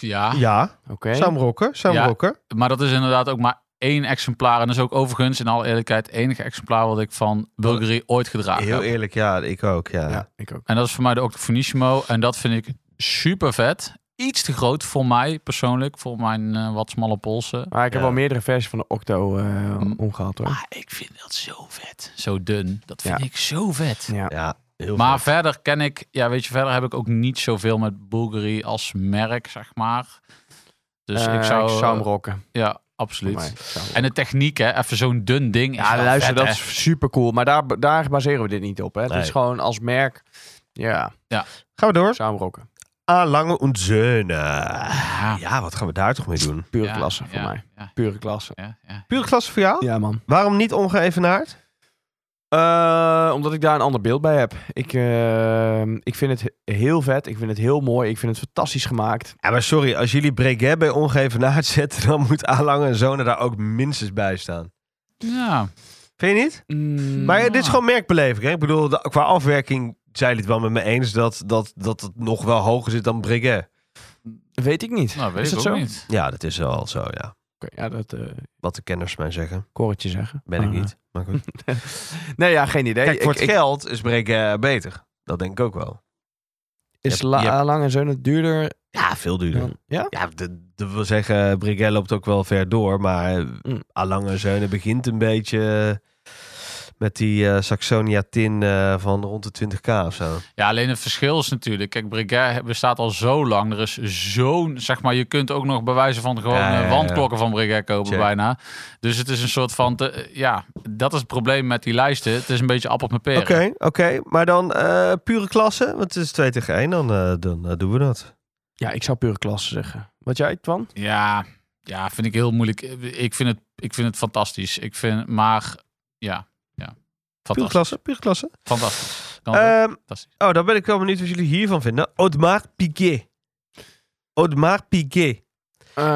Ja. Ja, Oké. Sam Rocker. Sam Ja. Rocker. Maar dat is inderdaad ook maar één exemplaar. En dat is ook overigens, in alle eerlijkheid, het enige exemplaar wat ik van Bulgari ooit gedragen Heel heb. eerlijk, ja, ik ook. Ja. Ja, ik ook. En dat is voor mij de Octofonissimo. En dat vind ik super vet. Iets te groot voor mij persoonlijk, voor mijn eh, wat smalle polsen. Maar ik heb Ja. wel meerdere versies van de Octo eh, omgehad, hoor. Maar ik vind dat zo vet. Zo dun. Dat vind Ja. ik zo vet. Ja. Ja, heel maar vet. verder ken ik, ja, weet je, verder heb ik ook niet zoveel met Bulgari als merk, zeg maar. Dus Eh, ik zou, hem rocken. ja, voor mij. absoluut. Ik zou hem En de techniek, hè, even zo'n dun ding. Is Ja, wel luister, vet, dat hè. is super cool. Maar daar, daar baseren we dit niet op. Hè? Het Nee. is gewoon als merk. Ja, Gaan we door. samenrokken. A Lange und Söhne. Ja. Ja, wat gaan we daar toch mee doen? Pure Ja, Ah, klasse voor ja, mij. Ja, Pure klasse. ja, ja. Pure klasse voor jou? Ja, man. Waarom niet ongeëvenaard? Eh, omdat ik daar een ander beeld bij heb. Ik, eh, ik vind het he- heel vet. Ik vind het heel mooi. Ik vind het fantastisch gemaakt. Ja, maar sorry, als jullie Breguet bij ongeëvenaard zetten, dan moet A Lange en Söhne daar ook minstens bij staan. Ja. Vind je niet? Mm. Maar dit is gewoon merkbeleving. Hè? Ik bedoel, de- qua afwerking zijn jullie het wel met me eens dat, dat, dat het nog wel hoger zit dan Breguet. Weet ik niet. Nou, weet is ik dat ook zo? niet. Ja, dat is wel zo, ja. Oké, ja, dat eh Wat de kenners mij zeggen. korretje zeggen. Ben ik Maar, niet. Maar goed. eh, Nee, ja, geen idee. Ah. Kijk, voor Ik- het ik- geld is Breguet beter. Dat denk ik ook wel. is je la, hebt- lang en zo het duurder Ja, veel duurder. dan... Ja? Ja, dat dat wil zeggen, Brigel loopt ook wel ver door. Maar Mm. Alange Zeunen begint een beetje met die eh, Saxonia tin eh, van rond de 20k of zo. Ja, alleen het verschil is natuurlijk... Kijk, Breguet bestaat al zo lang. Er is zo'n... Zeg maar, je kunt ook nog bewijzen van gewoon Ja, ja, eh, ja. wandklokken van Breguet kopen Check. bijna. Dus het is een soort van... te- ja, dat is het probleem met die lijsten. Het is een beetje appels met peren. Oké, oké. Maar dan eh, pure klasse, want het is 2 tegen 1, dan, eh, dan eh, doen we dat. Ja, ik zou pure klasse zeggen. Wat jij, Twan? Ja, ja, vind ik heel moeilijk. Ik vind het, ik vind het fantastisch. Ik vind... Maar ja, ja. Pure Fantastisch. klasse, pure klasse. Fantastisch. Kan Eh, wel. Ehm, fantastisch. oh, dan ben ik wel benieuwd wat jullie hiervan vinden. Audemars Piguet. Audemars Piguet.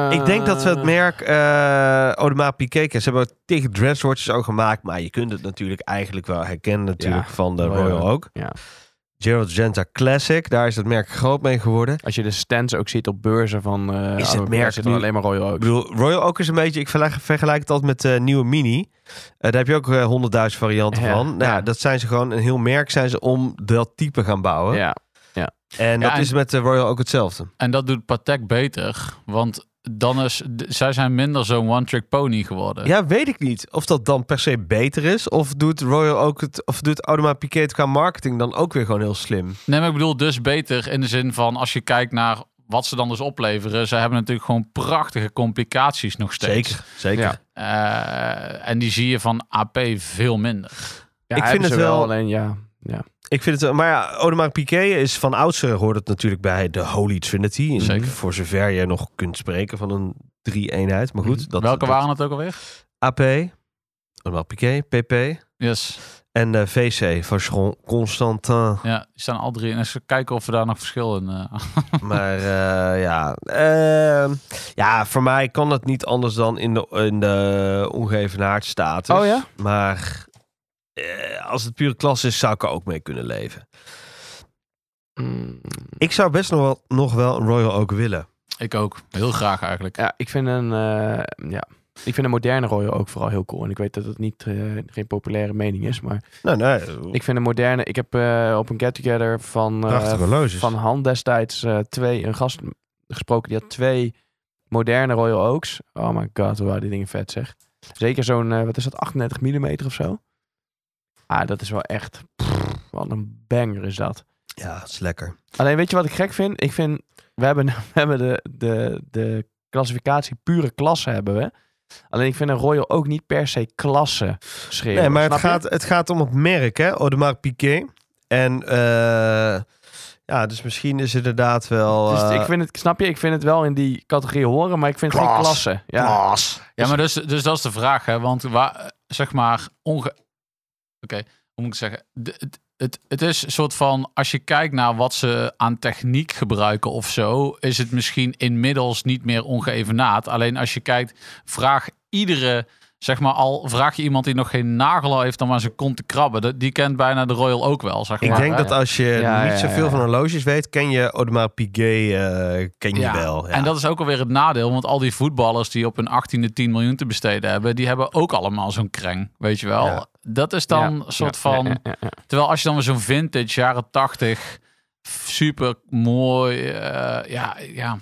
Ik denk dat we Ah. het merk eh Audemars Piguet kennen. Ze hebben ook tegen dresswatches ook gemaakt. Maar je kunt het natuurlijk eigenlijk wel herkennen natuurlijk van de Royal Royal ook. Ja. Gerald Genta Classic. Daar is het merk groot mee geworden. Als je de stands ook ziet op beurzen van... eh, het Adobe, merk zit er nu- alleen maar Royal Ik Oak. bedoel, Royal Oak is een beetje... Ik vergelijk, vergelijk het altijd met de nieuwe Mini. Eh, daar heb je ook eh, 100.000 varianten Ja, van. Nou, ja. dat zijn ze gewoon... Een heel merk zijn ze om dat type gaan bouwen. Ja, En dat Ja, en- is met de Royal ook hetzelfde. En dat doet Patek beter, want dan is, d- zij zijn minder zo'n one-trick pony geworden. Ja, weet ik niet. Of dat dan per se beter is. Of doet Royal ook het... Of doet Audemars Piguet het qua marketing dan ook weer gewoon heel slim. Nee, maar ik bedoel dus beter in de zin van als je kijkt naar wat ze dan dus opleveren. Ze hebben natuurlijk gewoon prachtige complicaties nog steeds. Zeker, zeker. Ja. Eh, en die zie je van AP veel minder. Ja, Ik hebben vind ze het wel- Alleen, ja. ja. Ik vind het, wel- maar ja, Audemars Piguet is van oudsher hoort het natuurlijk bij de Holy Trinity. En Zeker. Voor zover je nog kunt spreken van een drie-eenheid. Maar goed, dat, Mhm. Welke dat- waren het ook alweer? AP, Audemars Piguet, PP Yes. en eh, VC, Vacheron Constantin. Ja, die staan al drie. En eens kijken of we daar nog verschil in. eh, maar eh, ja, ehm, ja, voor mij kan het niet anders dan in de, in de ongeëvenaard status. Oh ja? dus. Maar eh, als het puur klas is, zou ik er ook mee kunnen leven. Mm, Ik zou best nog wel, nog wel een Royal ook willen. ik ook. Heel graag eigenlijk. ja, ik vind een... eh, ja, Ik vind de moderne royer ook vooral heel cool. En ik weet dat het niet, eh, geen populaire mening is, maar Nou, nee. ik vind de moderne... Ik heb eh, op een get-together van, eh, Prachtige horloges. van Han destijds eh, twee, een gast gesproken die had twee moderne Royal Oaks. Oh my god, hoe waren die dingen vet zeg. Zeker zo'n, eh, wat is dat, 38 mm of zo? Ah, dat is wel echt, pff, wat een banger is dat. Ja, het is lekker. Alleen weet je wat ik gek vind? Ik vind, we hebben, we hebben de, de, de klassificatie pure klasse hebben we. Alleen ik vind een Royal ook niet per se klasse schreeuwen. Nee, maar het snap je? gaat, het gaat om het merk, hè? Audemars Piguet. En eh, ja, dus misschien is het inderdaad wel... Dus eh, ik vind het, snap je, ik vind het wel in die categorie horen, maar ik vind het geen Klas. Ah, klasse. Ja. Ja, maar dus, dus dat is de vraag, hè? Want waar, zeg maar, onge... Oké, hoe moet ik het zeggen? De- het, het, het is een soort van, als je kijkt naar wat ze aan techniek gebruiken of zo, is het misschien inmiddels niet meer ongeëvenaard. Alleen als je kijkt, vraag iedere, zeg maar al, vraag je iemand die nog geen nagel heeft om aan zijn kont te krabben. dat- Die kent bijna de Royal ook wel, zeg Ik maar. denk hè? dat als je Ja, ja, niet zoveel ja. van horloges weet, ken je Audemars Piguet eh, ken je Ja, wel. Ja. En dat is ook alweer het nadeel, want al die voetballers die op hun 18e 10 miljoen te besteden hebben, die hebben ook allemaal zo'n kreng, weet je wel. Ja. Dat is dan Ja, een soort ja, van, ja, ja, ja. terwijl als je dan weer zo'n vintage, jaren 80, super mooi, eh, ja, ja,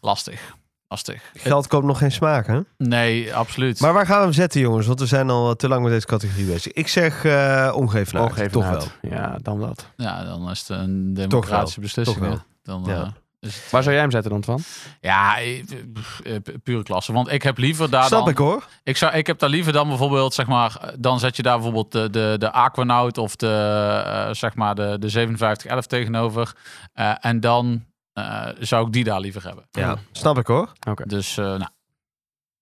lastig, lastig. Geld koopt nog geen smaak, hè? Nee, absoluut. Maar waar gaan we hem zetten, jongens? Want we zijn al eh, te lang met deze categorie bezig. Ik zeg eh ongevenaard. Toch wel. Ongevenaard. Ja, dan dat. ja, dan is het een democratische beslissing. toch wel. hè. Dan, Ja. eh, is het- Waar zou jij hem zetten dan van? ja, eh, eh, pure klasse. Want ik heb liever daar Snap dan... ik, hoor. Ik, zou, ik heb daar liever dan bijvoorbeeld, zeg maar, eh, dan zet je daar bijvoorbeeld de, de, de Aquanaut of de, eh, zeg maar, de, de 5711 tegenover. Eh, en dan eh, zou ik die daar liever hebben. Ja, snap ik, hoor. Dus, eh, nou,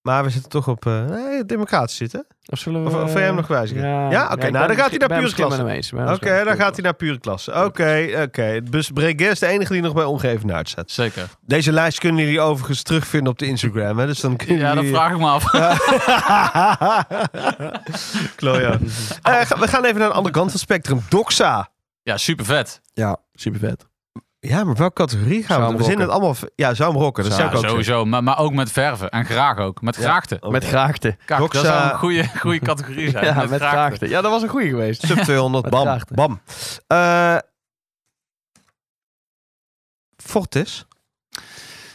Maar we zitten toch op eh eh, democratisch zitten. Of zullen we... Of, of wil jij hem nog Eh, wijzigen? Ja, oké, nou, dan gaat hij naar pure klasse. Oké, dan gaat hij naar pure klasse. Oké, oké. Dus Breguet is de enige die nog bij ongevenaard staat. zeker. Deze lijst kunnen jullie overigens terugvinden op de Instagram, hè? Dus dan kunnen Ja, dat jullie... vraag ik me af. Klojo. Eh, we gaan even naar de andere kant van het spectrum. Doxa. Ja, super vet. Ja, super vet. Ja, maar welke categorie gaan we? Zou hem We zijn het rocken. allemaal... Ja, zou hem rocken. Dat zou Ja, ik ook zeggen. sowieso. Maar, maar ook met verven. En graag ook. Met graagte. Oké. Met graakte. Kijk, Doxa- dat zou een goede, goede categorie zijn. Ja, met, graakte. Ja, dat was een goeie geweest. Sub 200, Met bam. graagte. Bam. Eh, Fortis.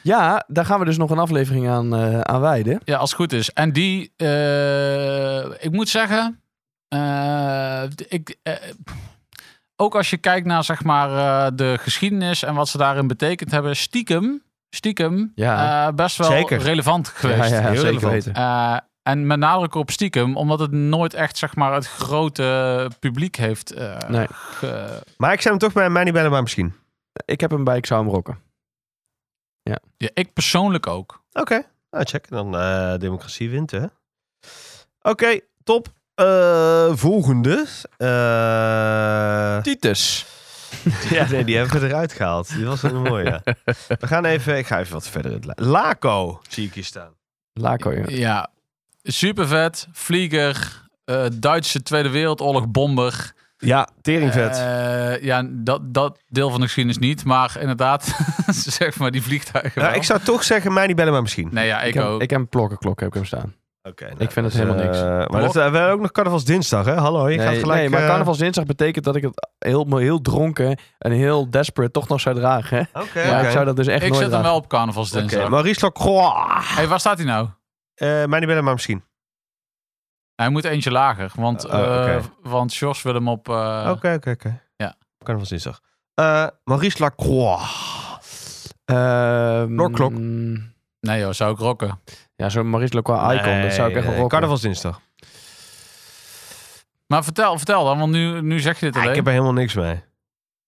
Ja, daar gaan we dus nog een aflevering aan, eh, aan wijden. Ja, als het goed is. En die, eh, ik moet zeggen, eh, ik, eh, ook als je kijkt naar zeg maar eh, de geschiedenis en wat ze daarin betekend hebben, stiekem, stiekem, Ja. eh, best wel Zeker. relevant geweest. ja, heel zeker relevant. weten. Eh, en met nadruk op stiekem, omdat het nooit echt zeg maar het grote publiek heeft. eh, Nee. ge- Maar ik zou hem toch bij mij niet bellen, maar misschien. Ik heb hem bij Ik zou hem rocken. ja, ik persoonlijk ook. Oké, nou check. Dan eh, democratie wint, hè. Oké, top. Eh, volgende. Eh, Titus. Ja, nee, die hebben we eruit gehaald. Die was wel mooi, ja. We gaan even, ik ga even wat verder. in het la- Laco zie ik hier staan. Laco, ja. Ja, super vet, vlieger, eh, Duitse Tweede Wereldoorlog bomber. Ja, teringvet. Eh, ja, dat, dat deel van de geschiedenis niet. Maar inderdaad, zeg maar, die vliegtuigen nou, wel. ik zou toch zeggen, mij niet bellen, maar misschien. Nee, ja, ik, heb, ook. Ik heb een plokkenklok heb ik hem staan. Oké, nou. Ik vind het helemaal niks. eh, maar dat, eh, we hebben ook nog carnavalsdinsdag, hè? Hallo, je gaat nee, gelijk... nee, maar eh, carnavalsdinsdag betekent dat ik het heel, heel dronken en heel desperate toch nog zou dragen. Hè? Oké, Ja, Maar oké. ik zou dat dus echt ik nooit zet hem dragen. wel op carnavalsdinsdag. Oké, Maurice Lacroix. hey, waar staat hij nou? Eh, mij niet bellen, maar misschien. Hij moet eentje lager. Want, Oh, oké. eh, want Sjors wil hem op... eh, Oké, oké, oké. Ja. Carnavalsdinsdag. Eh Maurice Lacroix. Ehm, Klokklok. Nee joh, zou ik rocken. Ja, zo'n Maurice Lacroix icon, dat zou ik echt wel rocken. Carnavalsdinsdag. Maar vertel, vertel dan, want nu, nu zeg je dit alleen. Ah, ik heb er helemaal niks mee.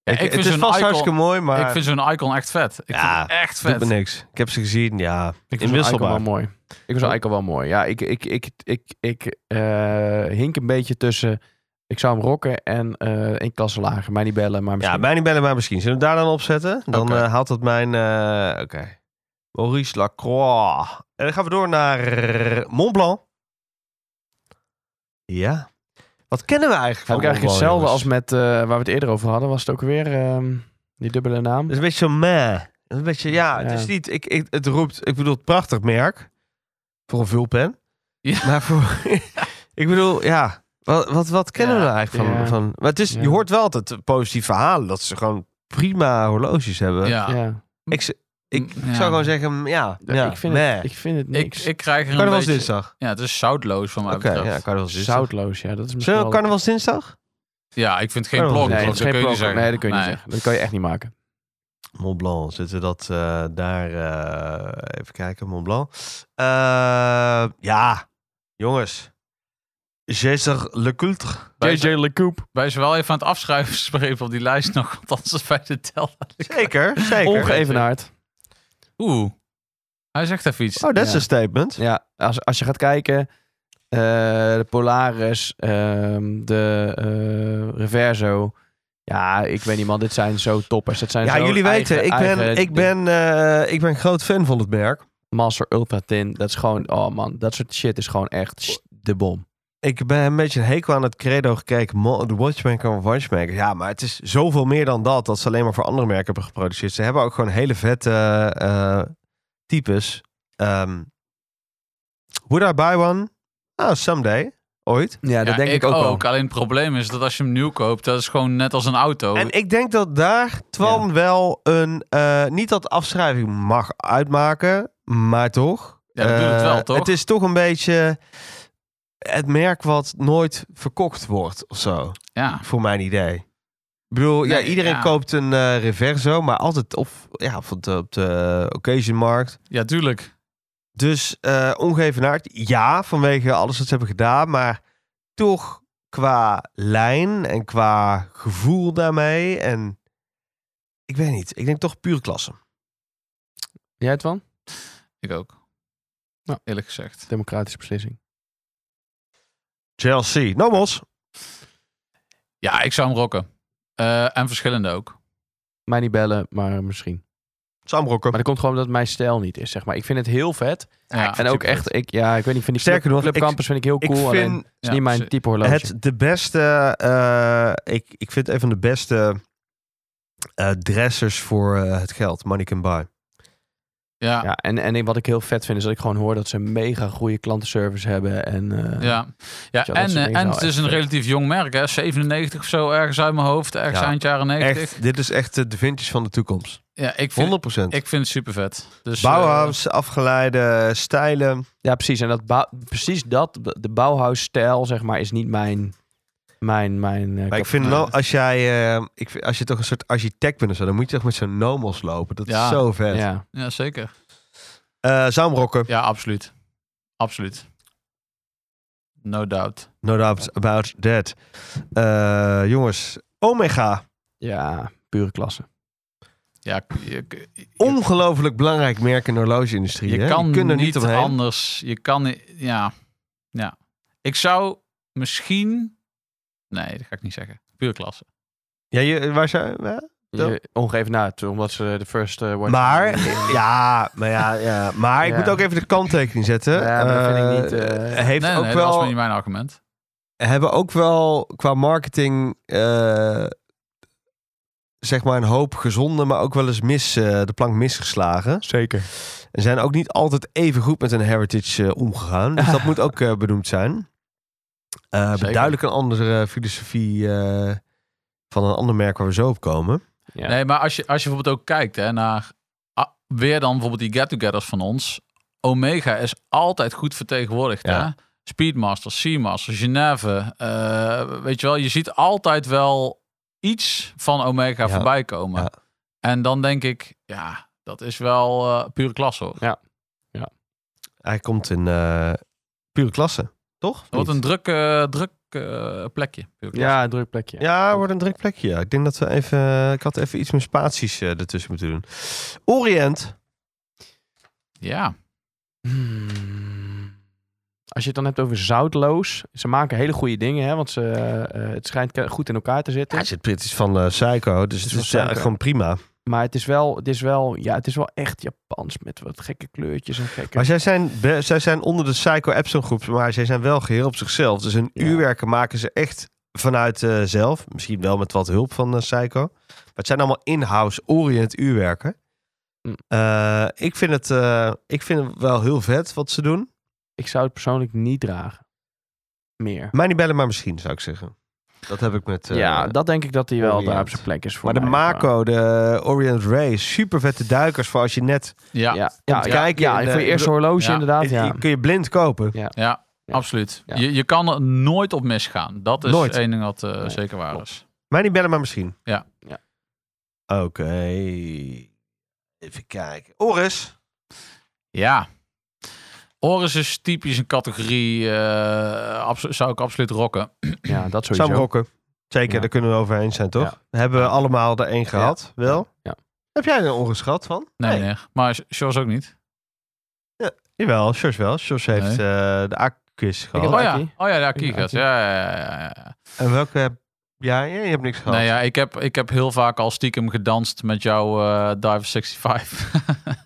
ik, vind het is zo'n vast icon- hartstikke mooi, maar Ik vind zo'n icon echt vet. Ik Ja, vind het echt het vet. doet me niks. Ik heb ze gezien, ja. Ik In vind zo'n icon wisselbaar. wel mooi. Ik vind zo'n icon wel mooi. Ja, ik, ik, ik, ik, ik eh, hink een beetje tussen... Ik zou hem rocken en eh één klasse lager. Mij niet bellen, maar Ja, misschien... mij niet bellen, maar misschien. Zullen we hem daar dan op zetten? Dan Oké. eh, haalt dat mijn... eh, Oké. Maurice Lacroix. En dan gaan we door naar Mont Blanc. Ja. Wat kennen we eigenlijk Heb van Mont ik eigenlijk Blanc, hetzelfde als jongens? met eh, waar we het eerder over hadden. Was het ook weer ehm, die dubbele naam? Het is een beetje zo'n meh. Het is Een beetje, ja, het Ja. is niet... Ik, ik, het roept... Ik bedoel, het prachtig merk. Voor een vulpen. Ja. Maar voor... ik bedoel, ja. Wat, wat, wat kennen we Ja, nou eigenlijk van... ja. van maar het is, Ja. je hoort wel altijd positieve verhalen. Dat ze gewoon prima horloges hebben. Ja. Ja. Ik, z- ik Ja. zou gewoon zeggen, ja. ja, ik, vind meh. het, ik vind het Ik, niks. ik krijg er een Carnavals beetje... dinsdag. Ja, het is zoutloos van mij dus- Oké, betreft. ja, carnavals dinsdag. Zoutloos, ja. Dat is misschien Zullen we wel- carnavals dinsdag? Ja, ik vind het geen Carnaval. dus- blog. Nee, Nee, dat dat is geen kun je niet blok. zeggen. Nee, dat kun je niet zeggen. Dat kan je echt niet maken. Mont Blanc, zitten we dat eh, daar... eh, even kijken, Mont Blanc. Eh, ja, jongens. Jezer Le Coultre. Wij zijn, LeCoop. wij zijn wel even aan het afschrijven op die lijst nog. Althans, bij de tel. Zeker, zeker. Ongeëvenaard. Oeh. Hij zegt even iets. Oh, dat is Ja. een statement. Ja, als, als je gaat kijken, eh, de Polaris, ehm, de eh, Reverso. Ja, ik weet niet man, dit zijn zo toppers. Dat zijn Ja, zo jullie eigen- weten, ik ben, eigen ik, ben, eh, ik ben groot fan van het merk. Master Ultra Tin, dat is gewoon, oh man, dat soort shit is gewoon echt sh- de bom. Ik ben een beetje een hekel aan het credo gekeken. mo- De Watchmaker of Watchmaker. Ja, maar het is zoveel meer dan dat. Dat ze alleen maar voor andere merken hebben geproduceerd. Ze hebben ook gewoon hele vette eh, types. Ehm would I buy one? Nou, someday. Ooit. Ja, dat Ja, denk ik, ook, wel. Alleen het probleem is dat als je hem nieuw koopt, dat is gewoon net als een auto. En ik denk dat daar Twan wel een... eh, niet dat afschrijving mag uitmaken, maar toch. Ja, dat doet het eh, wel, toch? Het is toch een beetje het merk wat nooit verkocht wordt of zo. Ja. voor mijn idee. Ik bedoel, ja, Nee, iedereen ja. koopt een eh, Reverso, maar altijd op, ja, op, de, op de occasion markt. ja, tuurlijk. Dus eh ongeëvenaard, ja, vanwege alles wat ze hebben gedaan, maar toch qua lijn en qua gevoel daarmee. En ik weet niet, ik denk toch puur klasse. Jij het van? Ik ook. Ja. Eerlijk gezegd. Democratische beslissing. Chelsea, Nou, Nomos. Ja, ik zou hem rocken. Eh, en verschillende ook. Mij niet bellen, maar misschien. Sam Rocker. Maar dat komt gewoon omdat het mijn stijl niet is, zeg maar. Ik weet niet, ik vind het heel vet. Ja. en ook super echt, ik, ja, ik weet niet, ik vind die Sterker club, nog, ik- clubcampus vind ik heel ik cool. alleen, vind het is niet mijn type horloge. Het de beste, eh, ik, ik vind een van de beste eh, dressers voor eh, het geld, money can buy. Ja. Ja, en, en wat ik heel vet vind is dat ik gewoon hoor dat ze een mega goede klantenservice hebben. En, eh, Ja, ja Tja, dat en, soort eh, dingen en zou het is echt een vet. relatief jong merk, hè? 97 of zo, ergens uit mijn hoofd, ergens Ja, eind jaren 90. Echt, dit is echt eh, de vintage van de toekomst. 100%. Ja, ik vind, ik vind het super vet. Dus, Bauhaus, afgeleide stijlen. ja, precies. En dat bou- precies dat, de Bauhaus-stijl, zeg maar, is niet mijn... mijn, mijn eh, Maar ik kap- vind eh, wel, als jij, eh, ik vind- als je toch een soort architect bent of zo, dan moet je toch met zo'n nomos lopen. Dat Ja. is zo vet. Eh ja. eh, ja, zeker. Zaamrokken, Ja, absoluut. Absoluut. No doubt. no doubt about that. Eh, jongens, Omega. ja, pure klasse. Ja, k- je, k- je- Ongelooflijk belangrijk merk in de horlogeindustrie. je hè? kan kunt er niet, niet omheen. anders. Je kan ni- ja. Ja. Ik zou misschien Nee, dat ga ik niet zeggen. Puur klasse. Ja, je, waar zou, hè? Ja. Je- Ongeëvenaard, omdat ze de first eh, watch- Maar, ja, maar, ja, ja. maar ik Ja. moet ook even de kanttekening zetten. Ja, maar dat vind ik Eh, niet, eh, heeft nee, ook nee, dat wel, was niet mijn argument. hebben ook wel qua marketing, eh, zeg maar, een hoop gezonde, maar ook wel eens mis, eh, de plank misgeslagen. Zeker. En zijn ook niet altijd even goed met hun heritage eh, omgegaan. Dus dat moet ook eh, benoemd zijn. Eh Zeker. duidelijk een andere filosofie eh, van een ander merk waar we zo op komen. Ja. Nee, maar als je, als je bijvoorbeeld ook kijkt hè, naar ah, weer dan bijvoorbeeld die get-togethers van ons. Omega is altijd goed vertegenwoordigd. Ja. Hè? Speedmaster, Seamaster, Geneve. eh, weet je wel, je ziet altijd wel iets van Omega Ja. voorbij komen. Ja. En dan denk ik, ja, dat is wel eh pure klasse hoor. Hij komt in eh, pure klasse, toch? Of Wat niet? een druk, eh, druk eh, plekje. pure klasse. Ja, een druk plekje. Ja, wordt een druk plekje. ja. Ik denk dat we even. Ik had even iets meer spaties eh, ertussen moeten doen. Orient. ja. Hmm. Als je het dan hebt over zoutloos. Ze maken hele goede dingen, hè, want ze, eh, het schijnt ke- goed in elkaar te Ja, zitten. het zit Brits van eh, Psycho, dus het van is eh, Psycho. gewoon prima. Maar het is wel, het is wel, ja, het is wel echt Japans met wat gekke kleurtjes en gekke... Maar zij zijn, be- zij zijn onder de Psycho Epson groep, maar zij zijn wel geheel op zichzelf. Dus hun Ja. uurwerken maken ze echt vanuit eh, zelf. Misschien wel met wat hulp van eh, Psycho. Maar het zijn allemaal in-house Orient uurwerken. Hm. Eh, ik, vind het, eh, ik vind het wel heel vet wat ze doen. Ik zou het persoonlijk niet dragen. Meer. Mij niet bellen, maar misschien zou ik zeggen. Dat heb ik met... eh, ja, dat denk ik dat hij wel daar op Orient. zijn plek is voor maar de mij. Mako, de Orient Ray, super vette duikers voor als je net... Ja, Ja, ja, ja, ja, te kijken in, ja, en eh, voor je eerste horloge ja. inderdaad. Ja. Kun je blind kopen. Ja. absoluut. Ja. Je, je kan er nooit op misgaan. Dat is Nooit. één ding wat eh, Nee, zeker waar klopt. is. Mij niet bellen, maar misschien. Ja. Ja. Oké. Even kijken. Oris. Ja. Oris is dus typisch een categorie, eh, abso- zou ik absoluut rocken. ja, dat Sam sowieso. Rokken. Zeker, Ja. daar kunnen we over eens zijn, toch? Hebben we allemaal er één gehad, wel? Ja. Heb jij er een Oris gehad van? Nee, meneer. Maar Sjors ook niet. Jawel, Sjors wel. Sjors heeft Nee. eh, de A-quiz gehad. heb Oh ja, Aki. oh ja, de Aki Ja, gaat. Aki. Ja, ja, ja, ja, ja. En welke heb jij? Ja, je hebt niks gehad. Nee, ja, ik heb, ik heb heel vaak al stiekem gedanst met jouw eh Diver 65.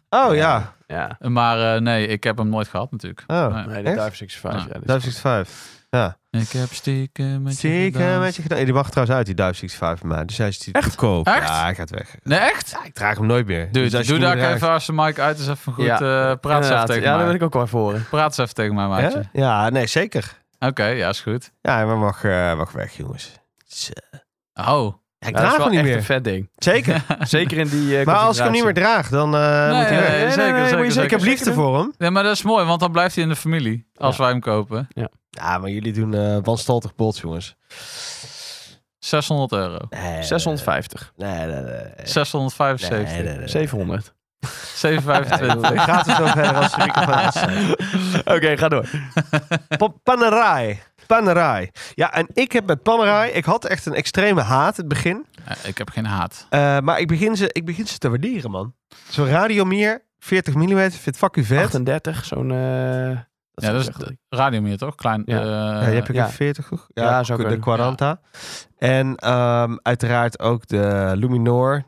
Oh ja. Ja. maar eh, nee, ik heb hem nooit gehad natuurlijk. Oh, Nee. Nee, de Echt? Dive 65. Ja, dat is- 565. Ik heb stiekem met je Zeker gedanst. met je gedaan. Die mag trouwens uit, die 565 maar. Dus hij is die te koop. Echt? Ja, hij gaat weg. Nee, echt? Ja, ik draag hem nooit meer. Dude, Dus als je doe hem daar draagt- even als de mic uit is even goed. Ja, eh praat eens even Inderdaad. tegen Ja, daar mij. ben ik ook wel voor. hè. Praat eens even tegen mij, maatje. Hè? Ja, nee, zeker. Oké, ja, is goed. Ja, maar mag, eh, mag weg, jongens. Zo. Oh. Ja, ik Ja, dat draag is hem wel niet echt meer. een vet ding. Zeker. Zeker in die eh, maar als ik hem niet meer configuratie. draag, dan eh, Nee, moet hij nee, weg. nee, zeker, maar zeker, je- ik zeker, heb liefde zeker. voor hem. Nee, maar dat is mooi, want dan blijft hij in de familie als wij hem kopen. Ja, maar jullie doen eh wanstaltig bots, jongens. 600 euro. Nee, 650. Nee, nee, nee. 675. Nee, nee, nee. 700. 725. Het gaat er zo verder als de microfoon uit zijn. Oké, ga door. Pa- Panerai. Panerai. Ja, en ik heb met Panerai... Ik had echt een extreme haat in het begin. Eh, ik heb geen haat. Eh, maar ik begin, ze, ik begin ze te waarderen, man. Zo'n radiomier, 40 mm, vindt fucking vet. 38, zo'n... eh, Ja, dat is echt- de radio meer toch? Klein. Ja. eh, Ja, je hebt ook ja. een 40, toch? Ja, zou de kunnen. 40. En ehm, uiteraard ook de Luminor.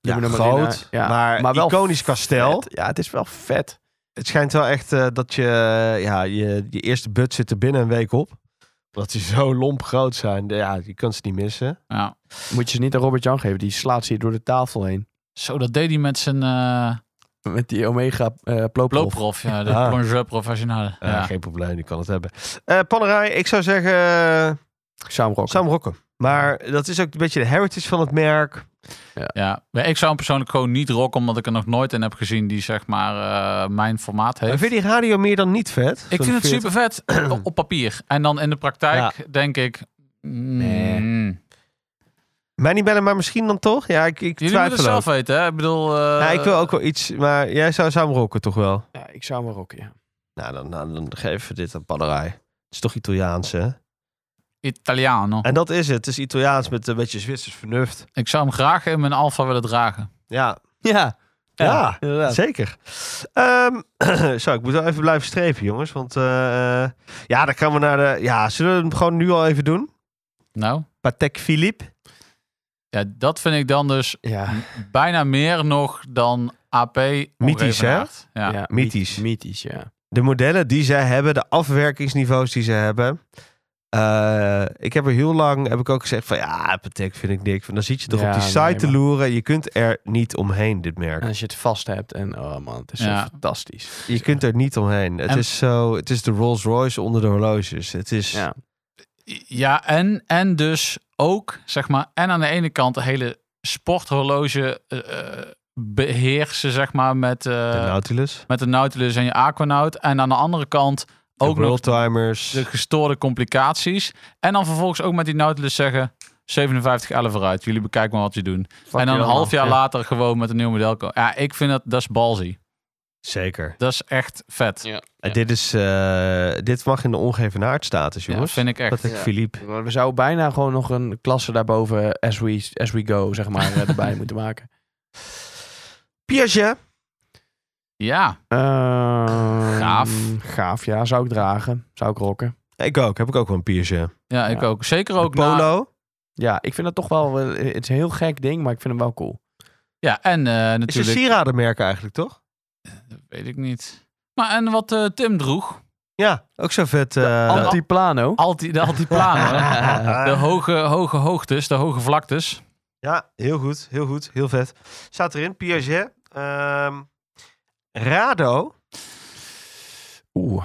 Ja, Luminor groot, Marina, ja. maar, Maar wel iconisch kastel. Vet. Ja, het is wel vet. Het schijnt wel echt eh, dat je, ja, je, je eerste bud zit er binnen een week op. Omdat die zo lomp groot zijn. Ja, je kunt ze niet missen. ja. Moet je ze niet aan Robert-Jan geven. Die slaat ze hier door de tafel heen. Zo, dat deed hij met zijn eh Met die Omega eh Ploprof. loopprof. Ja, de Ah. plongeur professionale. Eh, ja. Geen probleem, die kan het hebben. Eh Panerai, ik zou zeggen eh, Sam Rock. Sam Rokken. Maar dat is ook een beetje de heritage van het merk. Ja. Maar ik zou hem persoonlijk gewoon niet rocken, omdat ik er nog nooit in heb gezien die zeg maar eh, mijn formaat heeft. Maar vind je die radio meer dan niet vet? Ik vind het super vet op papier. En dan in de praktijk denk ik. mm, Nee. Mij niet bellen, maar misschien dan toch? Ja, ik, ik Jullie twijfel moeten het zelf ook. weten, hè? Ik bedoel. eh, Ja, ik wil ook wel iets, maar jij zou Sam Rokken toch wel? Ja, ik zou hem rocken, ja. Nou, dan, dan, dan geven we dit aan Panerai. Het is toch Italiaans, hè? Italiano. En dat is het. Het is Italiaans met een beetje Zwitsers vernuft. Ik zou hem graag in mijn alfa willen dragen. Ja. Ja. Ja, inderdaad. zeker. Ehm, zo, ik moet wel even blijven strepen, jongens. Want eh, ja, dan gaan we naar de... Ja, zullen we hem gewoon nu al even doen? Nou, Patek Philippe. ja, dat vind ik dan dus Ja, bijna meer nog dan AP. Mythisch, hè? ongevenaard. Ja. ja, mythisch. Mythisch, ja. De modellen die zij hebben, de afwerkingsniveaus die ze hebben. Eh, ik heb er heel lang, heb ik ook gezegd van ja, Patek vind ik dik. Dan zit je toch Ja, op die site nee, te maar- loeren. Je kunt er niet omheen, dit merk. En als je het vast hebt en oh man, het is Ja. zo fantastisch. Je kunt er niet omheen. Het En- is zo, het is de Rolls Royce onder de horloges. Het is, Ja. Ja, en, en dus ook, zeg maar, en aan de ene kant de hele sporthorloge eh, eh, beheersen, zeg maar, met, eh, de Nautilus, met de Nautilus en je Aquanaut. En aan de andere kant ook ook de nog Worldtimers. de gestoorde complicaties. En dan vervolgens ook met die Nautilus zeggen, 57 11 vooruit, jullie bekijken maar wat je doen. en dan een half jaar later gewoon met een nieuw model komen. Ja, ik vind dat, dat is balzy. Zeker. Dat is echt vet. Ja. En dit, is, eh, dit mag in de ongevenaard status, Ja, jongens. vind ik echt. Patek Ja. Philippe. Maar We zouden bijna gewoon nog een klasse daarboven eh, as we, as we go, zeg maar, eh, erbij moeten maken. Piaget. Ja, Ehm, Gaaf. Gaaf, ja. Zou ik dragen. Zou ik rocken. Ik ook, heb ik ook wel een Piaget. ja ik Ja. ook. Zeker De ook na- polo. Ja, ik vind dat toch wel... eh, Het is een heel gek ding, maar ik vind hem wel cool. Ja, en eh, Is een natuurlijk... sieradenmerk eigenlijk, toch? Dat weet ik niet. Maar en wat eh, Tim droeg, Ja, ook zo vet. eh, Antiplano. Alti, de altiplano, de hoge, hoge hoogtes, de hoge vlaktes. ja, heel goed, heel goed, heel vet. Staat erin, Piaget. ehm, Rado. Oeh.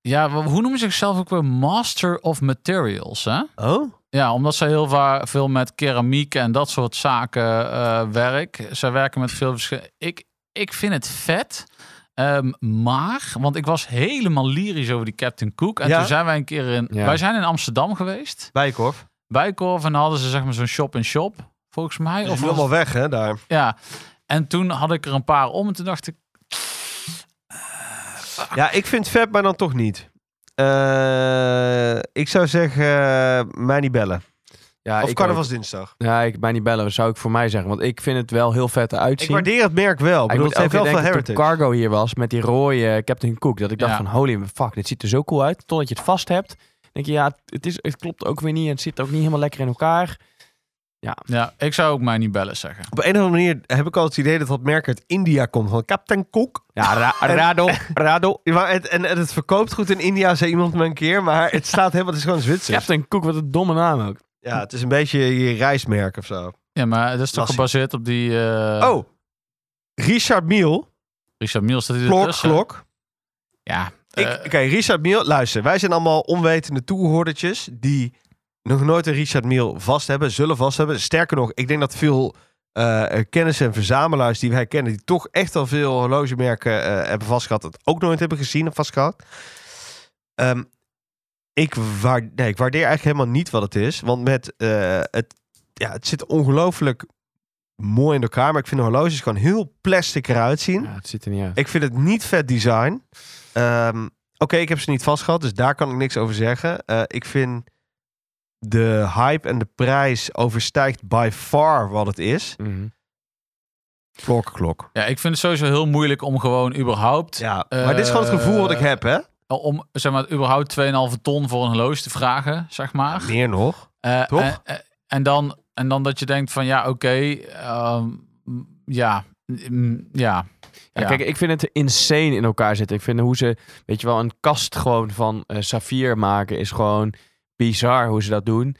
Ja, wa- hoe noemen ze zichzelf ook weer? Master of Materials, hè? Oh? Ja, omdat ze heel va- veel met keramiek en dat soort zaken eh werk. Ze werken met veel verschillende... Ik, ik vind het vet. Ehm, maar, want ik was helemaal lyrisch over die Captain Cook. En Ja? toen zijn wij een keer in... Ja. Wij zijn in Amsterdam geweest. Bijkorf. Bijkorf en hadden ze zeg maar zo'n shop-in-shop, volgens mij. Of Of is nu was- allemaal weg, hè, daar. Ja. En toen had ik er een paar om en toen dacht ik... Ja, ik vind vet, maar dan toch niet. Eh, ik zou zeggen, eh, mij niet bellen. Ja, of ik carnavalsdinsdag. ook. Ja, ik mij niet bellen, zou ik voor mij zeggen. Want ik vind het wel heel vet eruit Ik zien. waardeer het merk wel. Ik bedoel, moet het heeft wel ook veel weer denken heritage. toen Cargo hier was met die rode Captain Cook. Dat ik dacht Ja. van holy fuck, dit ziet er zo cool uit. Totdat je het vast hebt. Dan denk je ja, het- het, is, het klopt ook weer niet. En het zit ook niet helemaal lekker in elkaar. Ja, ik zou ook mij niet bellen zeggen. Op een of andere manier heb ik al het idee dat dat merk uit India komt. Van Captain Cook. Ja, ra rado, rado. Ja, maar het, en, en het verkoopt goed in India, zei iemand me een keer. Maar het staat helemaal, het is gewoon Zwitsers. Captain Cook, wat een domme naam ook. Ja, het is een beetje je reismerk of zo. Ja, maar dat is toch Lassie. gebaseerd op die... eh, Oh, Richard Miel. Richard Miels, dat hij Klok, ertussen- klok. Ja. Ik- eh, Oké, Richard Miel. Luister, wij zijn allemaal onwetende toehoordertjes die nog nooit een Richard Miel vast hebben, zullen vast hebben. Sterker nog, ik denk dat veel eh kennis en verzamelaars die wij kennen, die toch echt al veel horlogemerken eh, hebben vastgehad, het ook nooit hebben gezien of vastgehad. Ehm, ik, waar, nee, ik waardeer eigenlijk helemaal niet wat het is, want met eh, het, ja, het zit ongelooflijk mooi in elkaar, maar ik vind de horloges gewoon heel plastic eruit zien. Ja, het ziet er niet uit. Ik vind het niet vet design. Ehm, Oké, ik heb ze niet vast gehad, dus daar kan ik niks over zeggen. Eh, ik vind de hype en de prijs overstijgt by far wat het is. Mhm. Klok, klok. ja, ik vind het sowieso heel moeilijk om gewoon überhaupt... eh, Ja, maar dit is gewoon het gevoel wat ik heb, hè? Om, zeg maar, überhaupt 2,5 ton voor een horloge te vragen, zeg maar. Meer nog. Eh, toch? En, en- en dan, en dan dat je denkt van, ja, oké, ehm, ja, mm, ja. Ja, Kijk, ik vind het insane in elkaar zitten. Ik vind hoe ze, weet je wel, een kast gewoon van eh saffier maken is gewoon bizar hoe ze dat doen.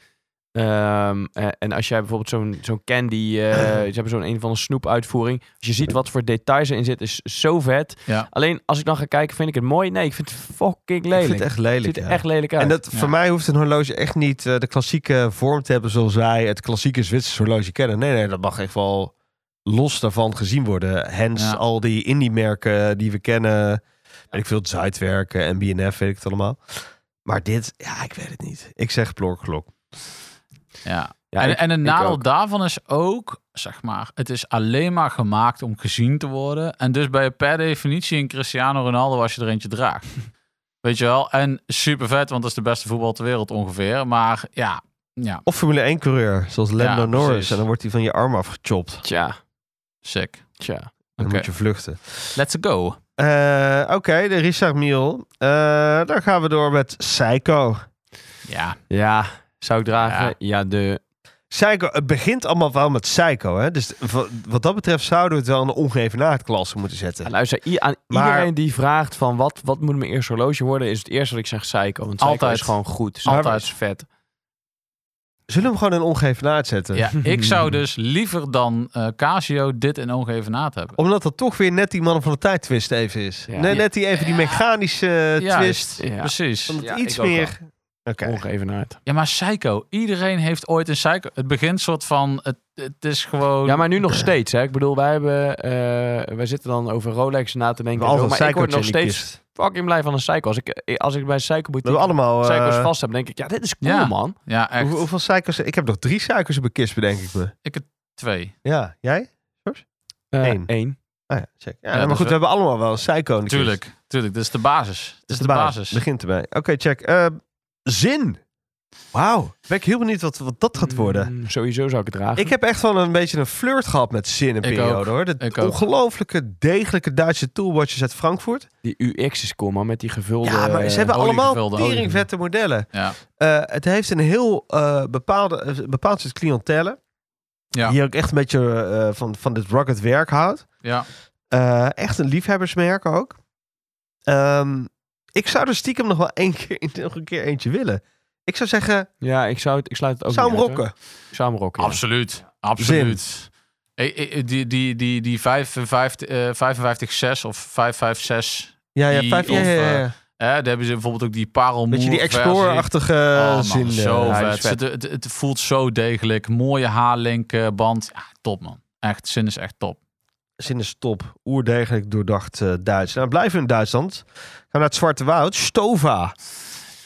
Ehm, eh, en als jij bijvoorbeeld zo'n zo'n candy, eh, ze hebben zo'n een van de snoep uitvoering. Als je ziet wat voor details erin zit, is zo vet. Ja. Alleen als ik dan ga kijken, vind ik het mooi. Nee, ik vind het fucking lelijk. Ik vind het echt Het lelijk. ziet er ja. echt lelijk uit. En dat, Ja. voor mij hoeft een horloge echt niet eh, de klassieke vorm te hebben zoals wij het klassieke Zwitsers horloge kennen. Nee, nee, dat mag echt wel los daarvan gezien worden. Hens Ja. al die indie-merken die we kennen. Weet ik veel, eh, Zuidwerken en BNF, weet ik het allemaal. Maar dit, ja, ik weet het niet. Ik zeg plorklok. ja. Ja, en, ik- en een ik nadeel ook. daarvan is ook, zeg maar, het is alleen maar gemaakt om gezien te worden. En dus ben je per definitie een Cristiano Ronaldo als je er eentje draagt. Weet je wel? En super vet, want dat is de beste voetbal ter wereld ongeveer. Maar ja, ja, Of Formule 1-coureur, zoals Lando Ja, Norris. precies. En dan wordt hij van je arm afgechopt. Dan Tja, sick. tja. Oké. moet je vluchten. Let's go. Eh, Oké, de Richard Miel. Eh, dan gaan we door met Seiko. Ja, Ja, zou ik dragen? Ja, Ja. de... Psycho, het begint allemaal wel met Psycho. Hè? Dus wa- wat dat betreft zouden we het wel in de ongeëvenaard klasse moeten zetten. Luister, i- aan Maar- iedereen die vraagt van wat, wat moet mijn eerste horloge worden, is het eerste dat ik zeg Seiko. Want Seiko Altijd. is gewoon goed. Seiko Altijd. is vet. Zullen we hem gewoon in ongeëvenaard zetten? ja ik zou dus liever dan eh, Casio dit en ongeven naad hebben. Omdat dat toch weer net die man van de tijd twist even is. Ja. Nee, net die even die mechanische eh, Juist. twist. Ja, Precies. Omdat Ja, iets ik ook meer... Oké. ongeëvenaard. Ja, maar Psycho. Iedereen heeft ooit een Psycho. Het begint soort van, het, het is gewoon... Ja, maar nu nog steeds. Hè. Ik bedoel, wij, hebben, eh, wij zitten dan over Rolex na te denken. altijd Zo, maar ik Psycho's word nog in die steeds kist. fucking blij van een Seiko. Als ik, eh, als ik bij een Seiko We hebben boutique allemaal... eh, Seiko's vast heb, denk ik, ja, dit is cool Ja. man. Ja, echt. hoe- hoeveel Psycho's... Ik heb nog drie Psycho's in mijn kist, bedenk ik me. Twee. Ja, jij? Eh, Eén. één. Ah ja, check. Ja, Ja, maar goed, dus we we- hebben allemaal wel een Psycho in de kist. Tuurlijk, tuurlijk. Dat is de basis. Dat is de, basis. Begint erbij. Oké, check. Eh, zin. Wauw. Ben ik heel benieuwd wat, wat dat gaat worden. Mm, sowieso zou ik het dragen. Ik heb echt wel een beetje een flirt gehad met Zin een Ik ook. periode hoor. Ik De ook. ongelooflijke degelijke Duitse toolwatches uit Frankfurt. Die UX is cool man, met die gevulde... Ja, maar ze hebben olie allemaal gevulde olie. teringvette modellen. Ja. Eh, het heeft een heel eh, bepaalde, eh, bepaald soort clientele. Ja. Die ook echt een beetje eh, van, van dit rocket werk houdt. Ja. Eh, echt een liefhebbersmerk ook. Ehm, ik zou er stiekem nog wel één keer, nog een keer eentje willen. Ik zou zeggen, eh, Ja, ik, zou het, ik sluit het ook zou hem niet uit, hoor. rocken. Ik zou hem rocken, ja. absoluut. Absoluut. Eh, eh, Die, die, die, die 55, eh, 55, 6 of 556, Ja, ja, Die vijf, ja, of, ja, ja, eh, ja. Hè, daar hebben ze bijvoorbeeld ook die parelmoer Beetje die Explorer-achtige Oh, man, zin. zo eh, hij is vet. Het, het, het voelt zo degelijk. Mooie haarlink, band. Ja, top man. Echt, zin is echt top. zin is top. Oerdegelijk doordacht eh, Duits. Nou, blijven we in Duitsland. Gaan we naar het Zwarte Woud. Stova.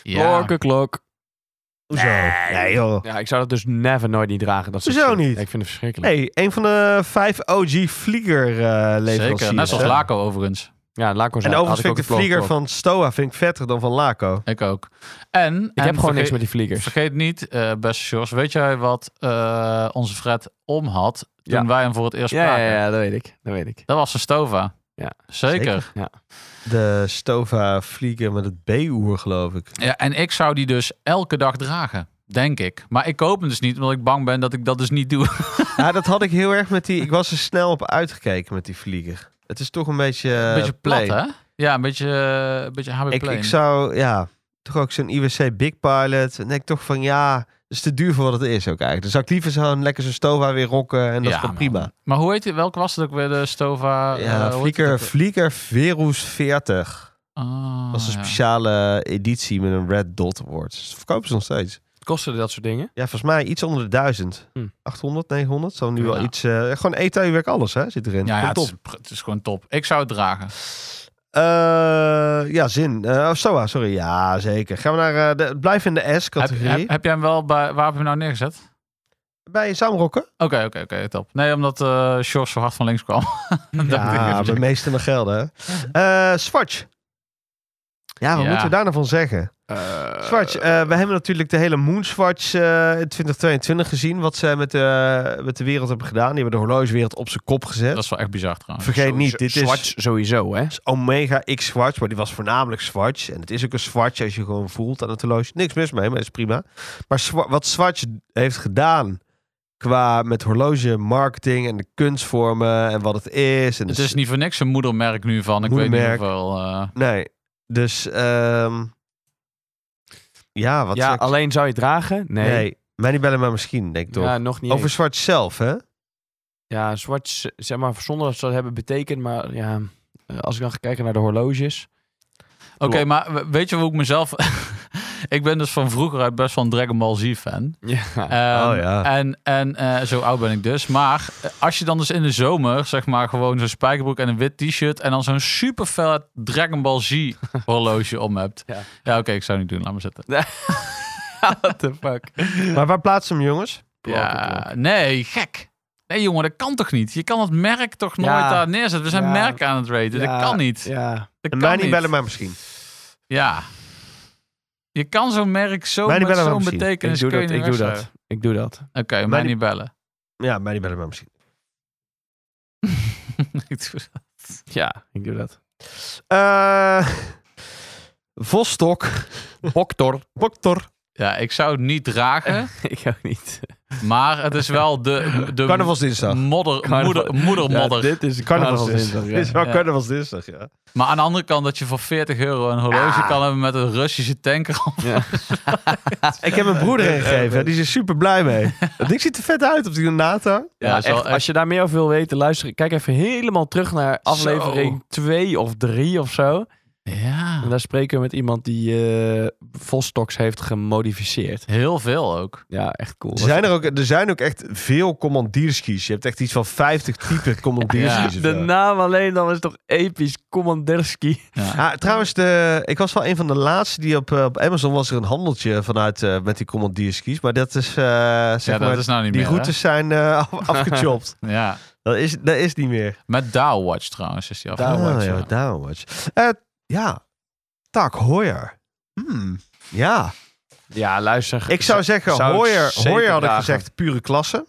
Ja. klok. Hoezo? Nee, joh. Ja, ik zou dat dus never nooit niet dragen. Dat soort Hoezo shit. niet? Nee, ik vind het verschrikkelijk. Hey, een van de vijf OG Vlieger eh leveranciers. Zeker, net zoals hè? Laco overigens. Ja, Laco En zei- had overigens vind ook ik de een Vlieger klok. van Stoa vind ik vetter dan van Laco. Ik ook. En, Ik heb gewoon niks met die vergeet, vliegers. vergeet niet, eh, beste Sjors, weet jij wat eh, onze Fred om had toen Ja. wij hem voor het eerst Ja, spraken? ja, ja, dat weet ik. Dat weet ik. Dat was de Stova. Ja. Zeker. Zeker. De Stova Vlieger met het B-oer, geloof ik. Ja, en ik zou die dus elke dag dragen. Denk ik. Maar ik koop hem dus niet, omdat ik bang ben dat ik dat dus niet Eh, doe. Ja, dat had ik heel erg met die... Ik was er snel op uitgekeken met die Vlieger. Het is toch een beetje... Een beetje plat, plain. hè? Ja, een beetje, eh, een beetje HB Ik, plain. ik zou, ja, toch ook zo'n IWC Big Pilot. En denk toch van, ja, dat is te duur voor wat het is ook eigenlijk. Dan zou ik liever zo'n lekker zo'n Stova weer rocken en dat Ja, is toch man. prima. Maar hoe heet het? Welke was het ook weer? De Stova? ja, eh, hoe heet Vlieger, het ook Vlieger Verus 40. weer? Ah, Dat was dus een ja. speciale editie met een red dot award. Dus dat verkopen ze nog steeds. Kosten dat soort dingen? Ja, volgens mij iets onder de 1000. Hm. 800, 900. Zal nu wel Ja. iets... eh, gewoon ETA werk alles, hè? Zit erin. Ja, ja, Gewoon het, top. is, pr- het is gewoon top. Ik zou het dragen. Eh, ja, zin. Eh, oh, Stoa, sorry. Ja, zeker. Gaan we naar... eh, de, blijf in de Heb, S-categorie. heb, heb jij hem wel bij... Waar heb je hem nou neergezet? Bij Samrokken. Oké, oké, oké. top. Nee, omdat eh Sjors zo hard van links kwam. Dat dacht ik Ja, even. bij meeste nog gelden. hè. Eh Swatch. Ja, wat Ja. moeten we daar nou van zeggen? Swatch, eh, we hebben natuurlijk de hele Moon Swatch eh, in 2022 gezien. Wat ze met de, met de wereld hebben gedaan. Die hebben de horlogewereld op zijn kop gezet. Dat is wel echt bizar trouwens. Vergeet niet, dit is, Swatch sowieso, hè? is Omega X Swatch. Maar die was voornamelijk Swatch. En het is ook een Swatch als je gewoon voelt aan het horloge. Niks mis mee, maar dat is prima. Maar Swa- wat Swatch heeft gedaan qua met horloge marketing en de kunstvormen en wat het is. En Het de is niet voor niks een moedermerk nu van. Ik weet Moedermerk. niet hoeveel... eh, Nee. Dus ehm, ja, wat ja, zeg ik? alleen zou je het dragen? Nee. Nee. mij niet bellen, maar misschien, denk ik toch. Ja, nog niet. Over eens. zwart zelf, hè? Ja, Swatch, eh, zeg maar, zonder dat ze dat hebben betekend, maar ja... eh, Als ik dan ga kijken naar de horloges. Oké, maar we- weet je hoe ik mezelf... ik ben dus van vroeger uit best wel een Dragon Ball Z fan. Ja. Ehm, Oh ja. En, en eh, zo oud ben ik dus. Maar eh, als je dan dus in de zomer, zeg maar, gewoon zo'n spijkerbroek en een wit t-shirt. en dan zo'n super vet Dragon Ball Z horloge om hebt. Ja, Ja. oké, ik zou het niet doen, laat me zitten. What the fuck? Maar waar plaatsen hem, jongens? Ja, nee, gek. Nee, jongen, dat kan toch niet? Je kan het merk toch nooit Ja. daar neerzetten? We zijn Ja. merk aan het raten. Ja, Dat kan niet. Ja. Dat En kan mij niet niet. bellen, maar misschien. Ja. Je kan zo'n merk zo Mij niet met bellen, maar zo'n misschien. betekenis Ik doe kun je dat, niet ik doe wegschrijven. dat. Ik doe dat. Oké, mij niet- niet bellen. Ja, mij niet bellen, maar misschien. Ik doe dat. Ja, ik doe dat. Eh Vostok. Boktor. Ehm, Boktor. ja, ik zou het niet dragen. ik ook niet. Maar het is wel de, de Carnavalsdinsdag. modder, Carnaval- moeder, moedermodder. Ja, dit is Carnavalsdinsdag. carnavalsdinsdag. Dit is ja. wel Ja. carnavalsdinsdag, ja. Maar aan de andere kant dat je voor 40 euro een horloge Ah. kan hebben met een Russische tanker. op. Ja. Ik heb mijn broeder een gegeven. hè. Die is er super blij mee. Dat ding ziet er vet uit op die Nata. Ja, Ja, is wel echt, echt- als je daar meer over wil weten, luister. Kijk even helemaal terug naar aflevering 2 of 3 of zo. Ja, En daar spreken we met iemand die eh Vostox heeft gemodificeerd. heel veel ook. Ja, echt cool. Er zijn er, ook, er zijn ook echt veel commandierskis. Je hebt echt iets van 50 type commandierskis. of De zo. naam alleen dan is toch episch. Commanderski. Ah, trouwens, de, ik was wel een van de laatste die op, eh, op Amazon was er een handeltje vanuit eh, met die commandierskis. Maar dat is, eh, zeg Ja, maar, dat is nou niet die meer. routes zijn eh, af- afgechopt. hè? Ja. dat, is, dat is niet meer. Met Dowwatch trouwens is die af. Ah, ja, downwatch. Eh, ja, Tak Hoyer. Hmm, Ja, Ja, luister. ik zou zeggen, zou ik Hoyer, zeker Hoyer had ik dragen. gezegd pure klasse.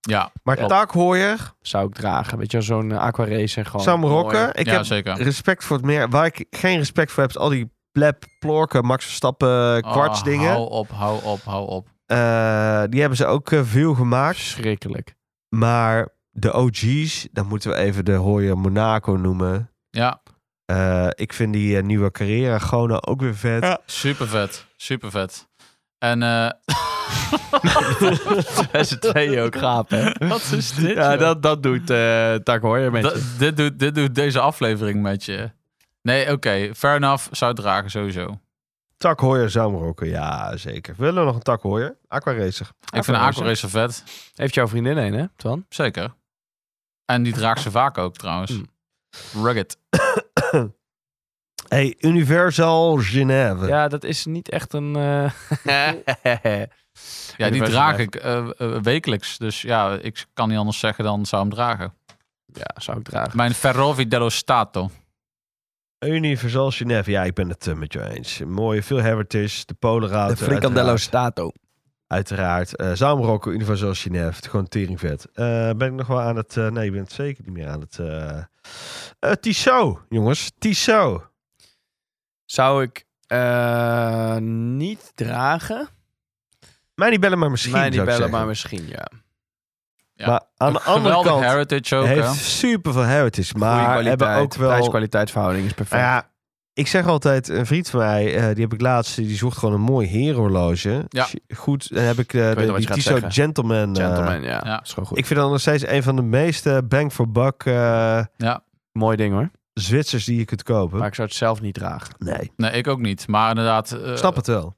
Ja, Maar Klopt. Tak Hoyer, zou ik dragen. Weet je, wel, zo'n aquarace en gewoon... Sam Rocker. mooi. Ik ja heb zeker. respect voor het meer. Waar ik geen respect voor heb, is al die pleb, plorken, Max Verstappen, kwarts Oh, dingen. Hou op, hou op, hou op. Eh, die hebben ze ook eh, veel gemaakt. Verschrikkelijk. Maar de OG's, dan moeten we even de Hoyer Monaco noemen. Ja, Eh, ik vind die eh, nieuwe Carrera Gona ook weer vet. super vet. Super vet. En eh, Met z'n tweeën ook gapen. hè? wat is dit? Ja, joh? dat, dat doet eh Tak Hoyer met Dat- je. dit, doet, dit doet deze aflevering met je. Nee, oké. Fair enough. Zou het dragen sowieso. Tak Hoyer Zaamroken, ja zeker. Willen we nog een Tak Hoyer? Aquaracer. Ik vind Aquaracer. Aquaracer vet. Heeft jouw vriendin een, hè, Twan? Zeker. En die draagt ze vaak ook trouwens. Hmm. Mm. Rugged. Hey, Universal Genève. Ja, dat is niet echt een... eh, Ja, die Universal draag Life. ik eh, eh, wekelijks. Dus ja, ik kan niet anders zeggen dan zou hem dragen. Ja, zou ik dragen. Mijn Ferrovi dello Stato. Universal Genève. Ja, ik ben het eh, met jou eens. Mooi, veel heritage. De Polenroute. uiteraard. Stato. Uiteraard. Eh Zaamrokken, Universal Genève. Gewoon teringvet. Eh, ben ik nog wel aan het... eh, nee, ik ben het zeker niet meer aan het... eh eh, Tissot, jongens. Tissot. Zou ik eh, niet dragen. Mij niet bellen, maar misschien Mij zou niet ik bellen, zeggen. maar misschien, ja. Ja. Maar aan de andere Geweldig kant heritage ook. hè? heeft super veel heritage. Maar Goeie hebben ook wel... Prijs-kwaliteitverhouding is perfect. Nou ja, ik zeg altijd, een vriend van mij, eh, die heb ik laatst, die zocht gewoon een mooi herenhorloge. Ja. Goed, dan heb ik eh, weet de, wat die je gaat Tissot zeggen. Gentleman. eh, Gentleman, ja. ja. Is gewoon goed. ik vind dat nog steeds een van de meeste bang for buck eh, mooi ding, hoor. Zwitsers die je kunt kopen. Maar ik zou het zelf niet dragen. nee, Nee, ik ook niet. Maar inderdaad... eh, snap het wel.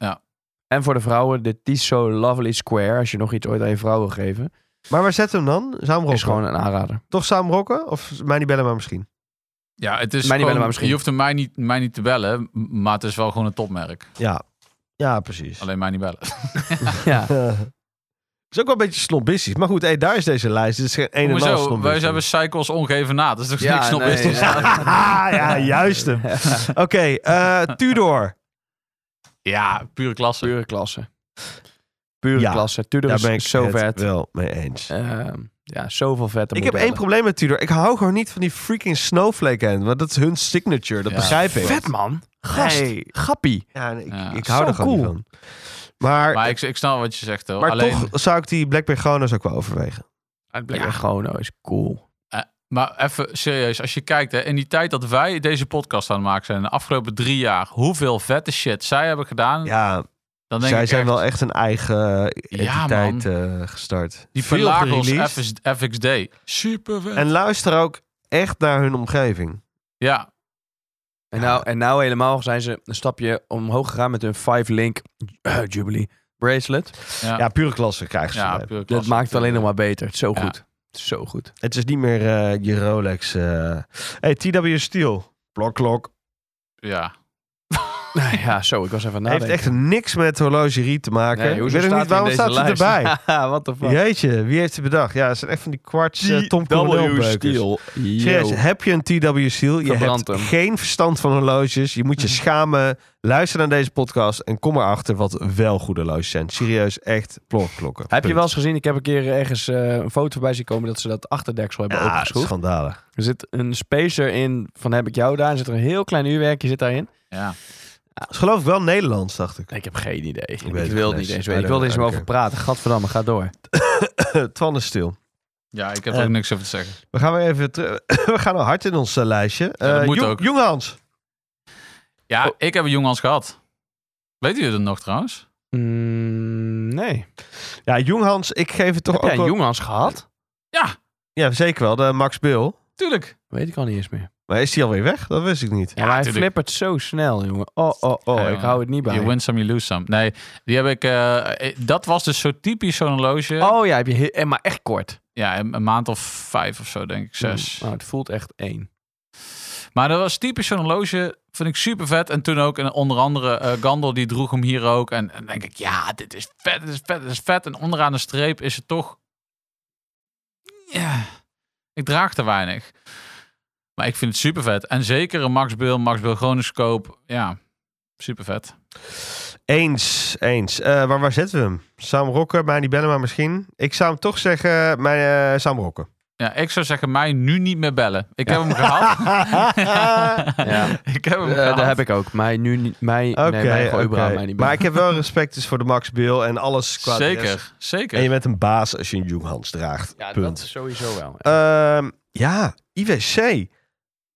En voor de vrouwen, de Tissot Lovely Square. Als je nog iets ooit aan je vrouw wil geven. Maar waar zet hem dan? Saamrokken? Is gewoon een aanrader. Toch saamrokken? Of mij niet bellen, maar misschien? Ja, het is Mij niet bellen, gewoon- maar misschien. Je hoeft hem mij niet, mij niet te bellen, m- maar het is wel gewoon een topmerk. Ja, ja precies. Alleen mij niet bellen. Ja. is ook wel een beetje snobistisch. Maar goed, hey, daar is deze lijst. Dit is geen ene Hoezo? en al wij snobistisch. hebben cycles ongeven na. Dat is toch Ja, niks nee, snobistisch? ja. Ah, ja, juist hem. Oké, eh, Tudor. Ja, pure klasse. Pure klasse. Pure Ja, klasse. Tudor Daar ben ik is zo het vet. wel mee eens. Ehm, ja, zoveel vette ik heb één probleem met Tudor. Ik hou gewoon niet van die freaking snowflake hand. Want dat is hun signature. Dat Ja. begrijp ik. Vet, man. Gast. Nee. Grappie. Ja, ik, Ja. ik hou Zo er gewoon cool. niet van. Maar, Maar maar, ik, ik snap wat je zegt hoor. Alleen, toch zou ik die Black Bear ook wel overwegen. Uit Black Chrono oh, is cool. maar even serieus, als je kijkt hè, in die tijd dat wij deze podcast aan het maken zijn, de afgelopen drie jaar, hoeveel vette shit zij hebben gedaan, Ja, dan denk zij ik zijn echt, wel echt een eigen Ja, entiteit eh, gestart. die Veel Pelagos gereleased. FS FXD, super vet. En luister ook echt naar hun omgeving. ja, En nou, en nou helemaal zijn ze een stapje omhoog gegaan met hun 5-link eh, Jubilee bracelet. ja, Ja, pure klasse krijgen ze. ja, erbij. pure Dat klasse. maakt het alleen nog maar beter. Het is zo Ja. goed. Het is zo goed. Het is niet meer eh, je Rolex. eh. Hey, TW Steel. Blok, klok. Ja. Nou ja, zo. Ik was even aan het Heeft nadenken. echt niks met horlogerie te maken. Nee, ik hoezo weet ook staat niet waarom hij in staat deze het erbij. lijst? Haha, What the fuck? Jeetje, wie heeft het bedacht? Ja, het zijn echt van die kwarts eh, Tom Coronel beukers. Serieus, Yo. heb je een TW Steel? Je Verbrand hebt hem. geen verstand van horloges. Je moet je schamen. Luister naar deze podcast en kom erachter wat wel goede horloges zijn. Serieus, echt plokklokken. Heb je wel eens gezien, ik heb een keer ergens eh, een foto voorbij zien komen dat ze dat achterdeksel hebben ja, opgeschroefd. schandalig. Er zit een spacer in van heb ik jou daar. Er zit er een heel klein uurwerkje zit daarin. ja. Dat is geloof ik wel Nederlands, dacht ik. Ik heb geen idee. Ik, weet het wil het niet niet eens. eens weten. Ik wil er eens Oké. over praten. Gadverdamme, ga door. Twan is stil. Ja, ik heb Eh, er ook niks over te zeggen. We gaan weer even terug. We gaan al hard in ons eh, lijstje. Ja, dat Eh, moet Jong- ook. Jonghans. Ja, Oh. ik heb een jongens gehad. Weet u dat nog trouwens? Mm, nee. Ja, Jonghans, ik geef het toch Heb ook jij een wel- jongens gehad? Ja, Ja, zeker wel. De Max Bill. tuurlijk. Weet ik al niet eens meer. Maar is die alweer weg? Dat wist ik niet. Ja, maar hij tuurlijk. flippert zo snel, jongen. Oh, oh, oh. Ja, ik hou het niet bij. You win some, you lose some. Nee, die heb ik... eh, eh, dat was dus zo typisch zo'n horloge. Oh ja, heb je heel, eh, maar echt kort. Ja, een, een maand of vijf of zo, denk ik. Zes. Nou, het voelt echt één. Maar dat was typisch zo'n horloge. Vond ik super vet. En toen ook, en onder andere eh, Gandel, die droeg hem hier ook. En, en denk ik, ja, dit is vet, dit is vet, dit is vet. En onderaan de streep is het toch... Ja, ik draag te weinig. Maar ik vind het super vet. En zeker een Max Bill, Max Bill Chronoscope. Ja, super vet. Eens, eens. Eh, maar waar zetten we hem? Sam Rocker, mij niet bellen, maar misschien. Ik zou hem toch zeggen, mijn, eh, Sam Rocker. Ja, ik zou zeggen, mij nu niet meer bellen. Ik heb hem gehad. Ja. Ik heb hem Eh, gehad. dat heb ik ook. Mij nu niet. Mij, Oké, nee, mij gewoon oké. überhaupt mij niet bij. maar ik heb wel respect dus voor de Max Bill en alles qua de rest. Zeker, zeker. En je bent een baas als je een Jonghans draagt. ja, Punt. dat sowieso wel. Ehm, ja, IWC.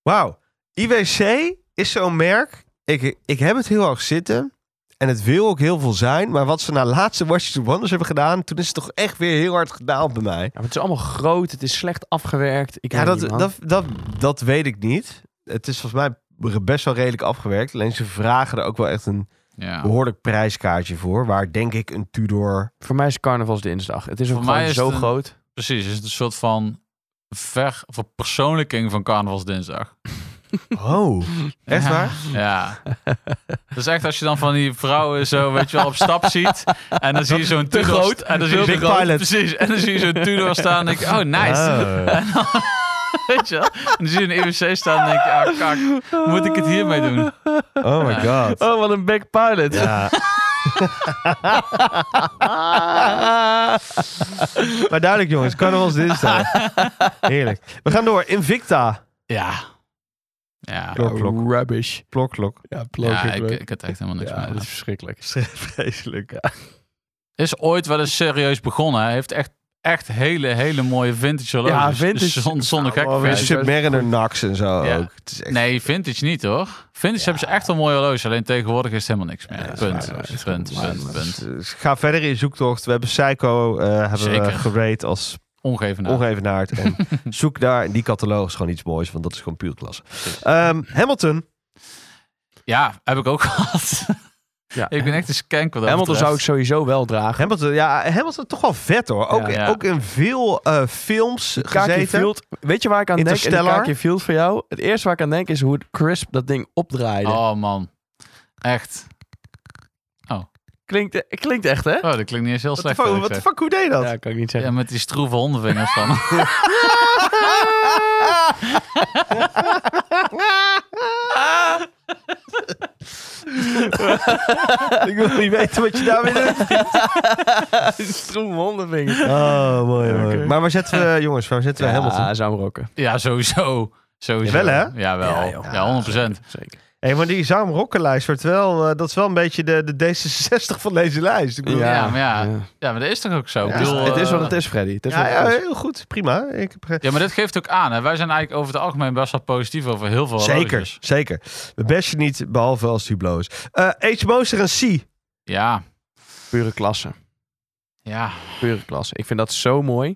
Wauw. IWC is zo'n merk. Ik, ik heb het heel erg zitten. En het wil ook heel veel zijn. Maar wat ze na laatste Washington Wonders hebben gedaan... toen is het toch echt weer heel hard gedaald bij mij. Ja, maar het is allemaal groot, het is slecht afgewerkt. Ik ja, weet dat, niet, man. dat, dat, dat weet ik niet. Het is volgens mij re- best wel redelijk afgewerkt. Alleen ze vragen er ook wel echt een Ja. behoorlijk prijskaartje voor. Waar denk ik een Tudor... Voor mij is carnavalsdinsdag. Het is ook Voor mij gewoon is zo het een- groot. Precies, is het een soort van ver verpersoonlijking van carnavalsdinsdag. Oh, echt waar? Hmm. Ja. Dus echt als je dan van die vrouwen zo, weet je wel, op stap ziet. En dan zie je zo'n Tudor. groot, en dan zie je Big zo'n groot- Pilot. Precies. En dan zie je zo'n Tudor staan en denk ik, Ah. oh nice. Oh. Weet je wel? En dan zie je een EWC staan en denk ik, ah kak, moet ik het hiermee doen? Oh my god. Oh, wat een back pilot. Ja. maar duidelijk jongens, carnavals dinsdag. Heerlijk. We gaan door. Invicta. Ja. Ja. Klok, klok, Oh, Rubbish. klok, klok. Ja, plok. Ja, ik, ik had echt helemaal niks Ja, mee. dat is verschrikkelijk. Vreselijk. Is ooit wel eens serieus begonnen. Hij heeft echt, echt hele, hele mooie vintage horloges. Ja, vintage. Zon- zonder gek. Oh, weer weet je, Submariner Nax en zo Ja. ook. Het is echt... Nee, vintage niet hoor. Vintage hebben ze echt wel mooie horloges. Alleen tegenwoordig is het helemaal niks meer. punt, punt, punt, punt, Dus Ga verder in je zoektocht. We hebben Psycho eh hebben we Zeker. Nou. gerate als Ongevenaar. ongeëvenaard. En zoek daar in die catalogus gewoon iets moois, want dat is gewoon puur klasse. Ehm, Hamilton. Ja, heb ik ook gehad. Ja. ik ben echt een skank wat dat Hamilton zou ik betreft. sowieso wel dragen. Hamilton, ja, Hamilton toch wel vet hoor. Ook, Ja. ook in veel eh, films Kaakje gezeten. Field. Weet je waar ik aan denk? In de Interstellar. Kaakje Field voor jou. Het eerste waar ik aan denk is hoe crisp dat ding opdraaide. Oh man. Echt. Klinkt, eh, klinkt echt, hè? Oh, dat klinkt niet eens heel Wat de slecht. fuck, what wat ik the zeg. fuck, hoe deed je dat? Ja, kan ik niet Ja, zeggen. met die stroeve hondenvingers van. Ik wil niet weten wat je daarmee doet. Stroem hondenvinger. Oh, mooi, mooi. Oké. Maar waar zetten we, jongens, waar zetten we Hamilton? Ja, zou hem rocken. ja, sowieso. sowieso. Jawel, hè? Ja, wel. Ja, Ja, joh. 100%. Zeker. Hey, maar die Zaam Rokkenlijst wordt wel, eh, dat is wel een beetje de, de D66 van deze lijst. Ik Ja, bedoel, maar ja. Ja, maar dat is toch ook zo? Ik Het, is, bedoel, het is wat eh, het is, Freddy. Het is ja, wat ja, het is. heel goed, prima. Ik heb... ge- Ja, maar dit geeft ook aan. Hè? Wij zijn eigenlijk over het algemeen best wel positief over heel veel Zeker, horloges. zeker. We bashen niet, behalve als het Hublot is. Eh, H. Moser en C. Ja, Pure klasse. ja. Pure klasse. Ik vind dat zo mooi.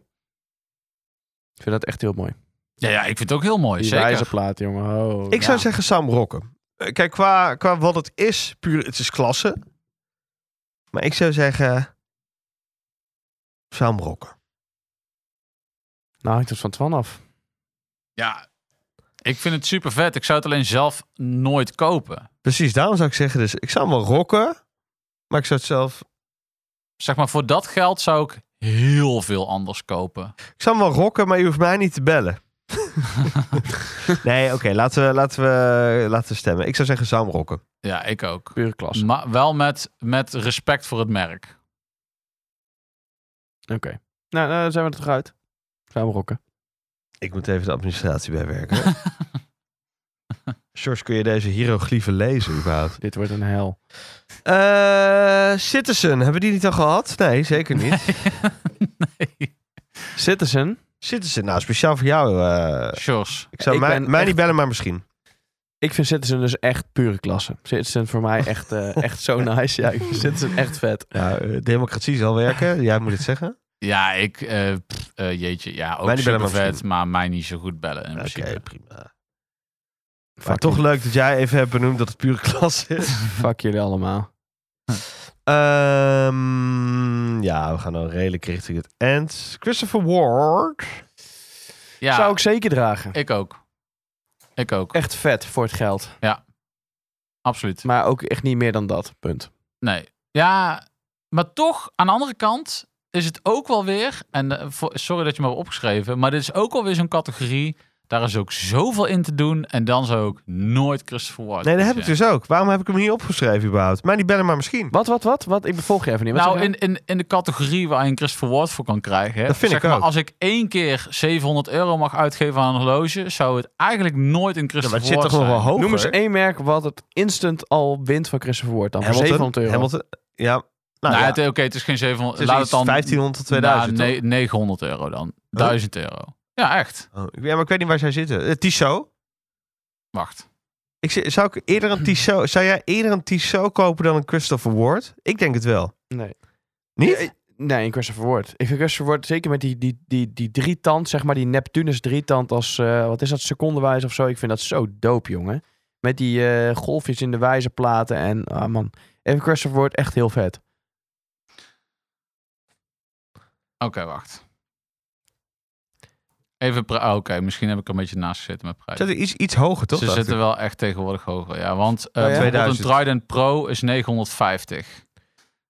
Ik vind dat echt heel mooi. Ja, ja, ik vind het ook heel mooi. Die zeker. wijzerplaat, jongen. Oh. Ik zou Ja. zeggen Sam Rokken. Eh, Kijk, qua, qua wat het is, puur, het is klasse. Maar ik zou zeggen... Sam Rokken. Nou, hangt het van Twan af. Ja, ik vind het super vet. Ik zou het alleen zelf nooit kopen. Precies, daarom zou ik zeggen dus... Ik zou hem wel rocken, maar ik zou het zelf... Zeg maar, voor dat geld zou ik heel veel anders kopen. Ik zou hem wel rocken, maar je hoeft mij niet te bellen. nee, oké, laten, we, laten, we, laten we stemmen. Ik zou zeggen Sam Rokken. Ja, ik ook. Pure klasse. Maar wel met, met respect voor het merk. Oké. Nou, nou, dan zijn we er toch uit. Gaan we rocken. Ik moet even de administratie bijwerken. George, kun je deze hieroglyphen lezen überhaupt? Dit wordt een hel. Eh, Citizen, hebben we die niet al gehad? Nee, zeker niet. Citizen. Citizen, nou speciaal voor jou. eh, Sjors. ik zou Ik mij, ben mij echt- niet bellen, maar misschien. Ik vind Citizen dus echt pure klasse. Citizen voor mij echt, eh, echt zo nice. Ja, ik vind Citizen echt vet. Ja, eh, democratie zal werken, jij moet het zeggen. Ja, ik... eh, pff, eh, jeetje, ja, Mij ook niet bellen, super maar vet, misschien. maar mij niet zo goed bellen in Oké, principe. prima. Maar Fuck, toch jullie- leuk dat jij even hebt benoemd dat het pure klas is. fuck jullie allemaal. Ehm, ja, we gaan nou redelijk richting het end. Christopher Ward. Ja, Zou ik zeker dragen. ik ook. Ik ook, Echt vet voor het geld. absoluut. Maar ook echt niet meer dan dat. Punt. Nee. Ja, maar toch, aan de andere kant is het ook wel weer. En eh, voor- sorry dat je me hebt opgeschreven. Maar dit is ook wel weer zo'n categorie. Daar is ook zoveel in te doen. En dan zou ik nooit Christopher Ward Nee, dat heb ik kiezen. dus ook. Waarom heb ik hem niet opgeschreven überhaupt? Mij niet bellen, maar misschien. Wat, wat, wat? wat? Ik bevolg je even niet. Wat Nou, zeg je? in, in, in de categorie waar je een Christopher Ward voor kan krijgen. Hè, Dat vind zeg ik maar, ook. Als ik één keer 700 euro mag uitgeven aan een horloge, zou het eigenlijk nooit een Ja, maar Christopher het zit toch Ward nog zijn. wel hoger? Noem eens één merk wat het instant al wint van Christopher Ward. Dan voor Hamilton. 700 euro. Hamilton. Ja. Nou, Nou, ja. het- Oké, het is geen 700. Het is laat iets het dan 1500 tot 2000. Nou, toch? nee, 900 euro dan. 1000 euro. Ja, echt. Oh, ik- ja, maar ik weet niet waar zij zitten. Eh, Tissot. Wacht. Ik, zi- zou ik eerder een Tissot... Zou jij eerder een Tissot kopen dan een Christopher Ward? Ik denk het wel. Nee. Niet? Ja, Nee, in Christopher Ward. Ik vind Christopher Ward zeker met die, die, die, die drietand, zeg maar, die Neptunus drietand als, eh, wat is dat, secondenwijs of zo. Ik vind dat zo dope, jongen. Met die eh, golfjes in de wijzerplaten. En ah man, Evan Christopher wordt echt heel vet. Oké, wacht. Even pra- ah, Oké, misschien heb ik er een beetje naast gezeten met prijs. Zit er iets, iets hoger, toch? Ze dacht zitten ik? wel echt tegenwoordig hoger. Ja, want eh ja? bijvoorbeeld 2000. een Trident Pro is 950.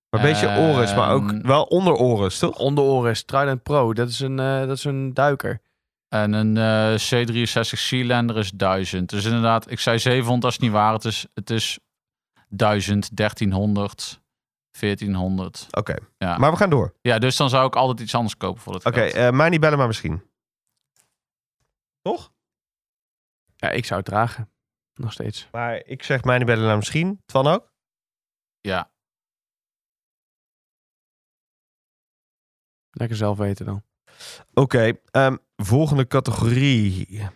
Maar een beetje Ehm, Oris, maar ook wel onder Oris, toch? Onder Oris, Trident Pro, dat is een, eh, dat is een duiker. En een eh, C63 Sealander is 1000. Dus inderdaad, ik zei 700, dat is niet waar. Het is, het is 1000, 1300, 1400. Oké, Ja. maar we gaan door. Ja, dus dan zou ik altijd iets anders kopen voor dat Oké, geld. eh, mij niet bellen, maar misschien. Toch? Ja, ik zou het dragen. Nog steeds. Maar ik zeg mij niet bellen, maar misschien. Twan ook? Ja, Lekker zelf weten dan. Oké, ehm, volgende categorie.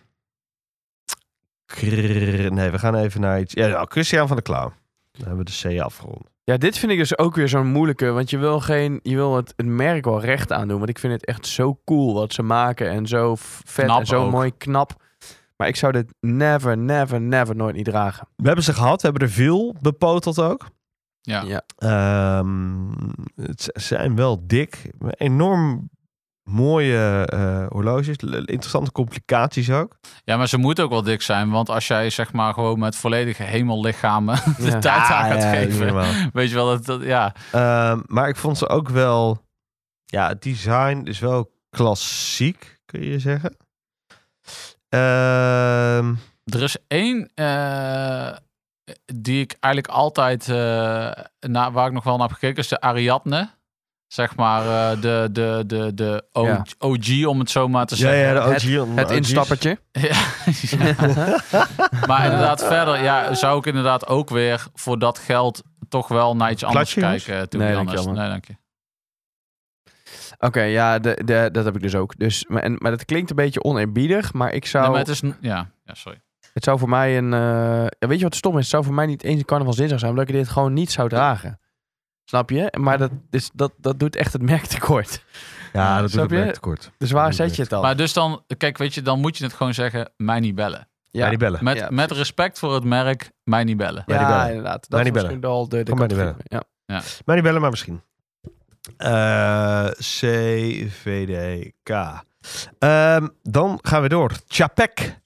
Krrr, nee, we gaan even naar iets. Ja, nou, Christian van der Klauw. Dan hebben we de C afgerond. Ja, dit vind ik dus ook weer zo'n moeilijke. Want je wil, geen, je wil het, het merk wel recht aandoen. Want ik vind het echt zo cool wat ze maken. En zo f- vet Knap en zo ook. mooi knap. Maar ik zou dit never, never, never nooit niet dragen. We hebben ze gehad, we hebben er veel bepoteld ook. ja. Ja. Ehm, het z- zijn wel dik. Enorm mooie eh, horloges. L- Interessante complicaties ook. ja, maar ze moeten ook wel dik zijn. Want als jij zeg maar gewoon met volledige hemellichamen de Ja. tijd aan gaat Ah, ja, niet geven. normaal. Weet je wel, dat, dat, ja. Ehm, maar ik vond ze ook wel... Ja, het design is wel klassiek, kun je zeggen. Ehm, Er is één eh, die ik eigenlijk altijd, eh, na, waar ik nog wel naar heb gekeken, is de Ariadne. Zeg maar eh, de, de, de, de O- Ja. OG, om het zo maar te ja, zeggen. ja, de OG. Dus, eh, Het- on- Het Oh, OG's. instappertje. Ja. Maar inderdaad, verder ja, zou ik inderdaad ook weer voor dat geld toch wel naar iets anders Klatje, jongens? kijken. eh, Toen Nee, nee, dank je anders. wel, man. nee, dank je. Oké, ja, de, de, dat heb ik dus ook. Dus, maar, en, maar dat klinkt een beetje oneerbiedig. Maar ik zou... Nee, maar het, het is, n- ja, ja, sorry. zou voor mij een... eh, ja, weet je wat stom is? Het zou voor mij niet eens een carnavalsdinsdag zijn. Omdat ik dit gewoon niet zou dragen. Snap je? Maar dat, is dat, dat doet echt het merk tekort. Ja, dat doe Snap ik je? te kort. Dus Dat waar doet zet je het dan? Maar dus dan, kijk, weet je, dan moet je het gewoon zeggen, mij niet bellen. Ja, ja. die bellen. Met, Ja, met respect voor het merk, mij niet bellen. Bij die ja, bellen. Bij inderdaad. Dat is die bellen. misschien wel de, de Kom bij die categorie. Ja. Maar die bellen maar misschien. Eh CVDK. Ehm, dan gaan we door. Chapek.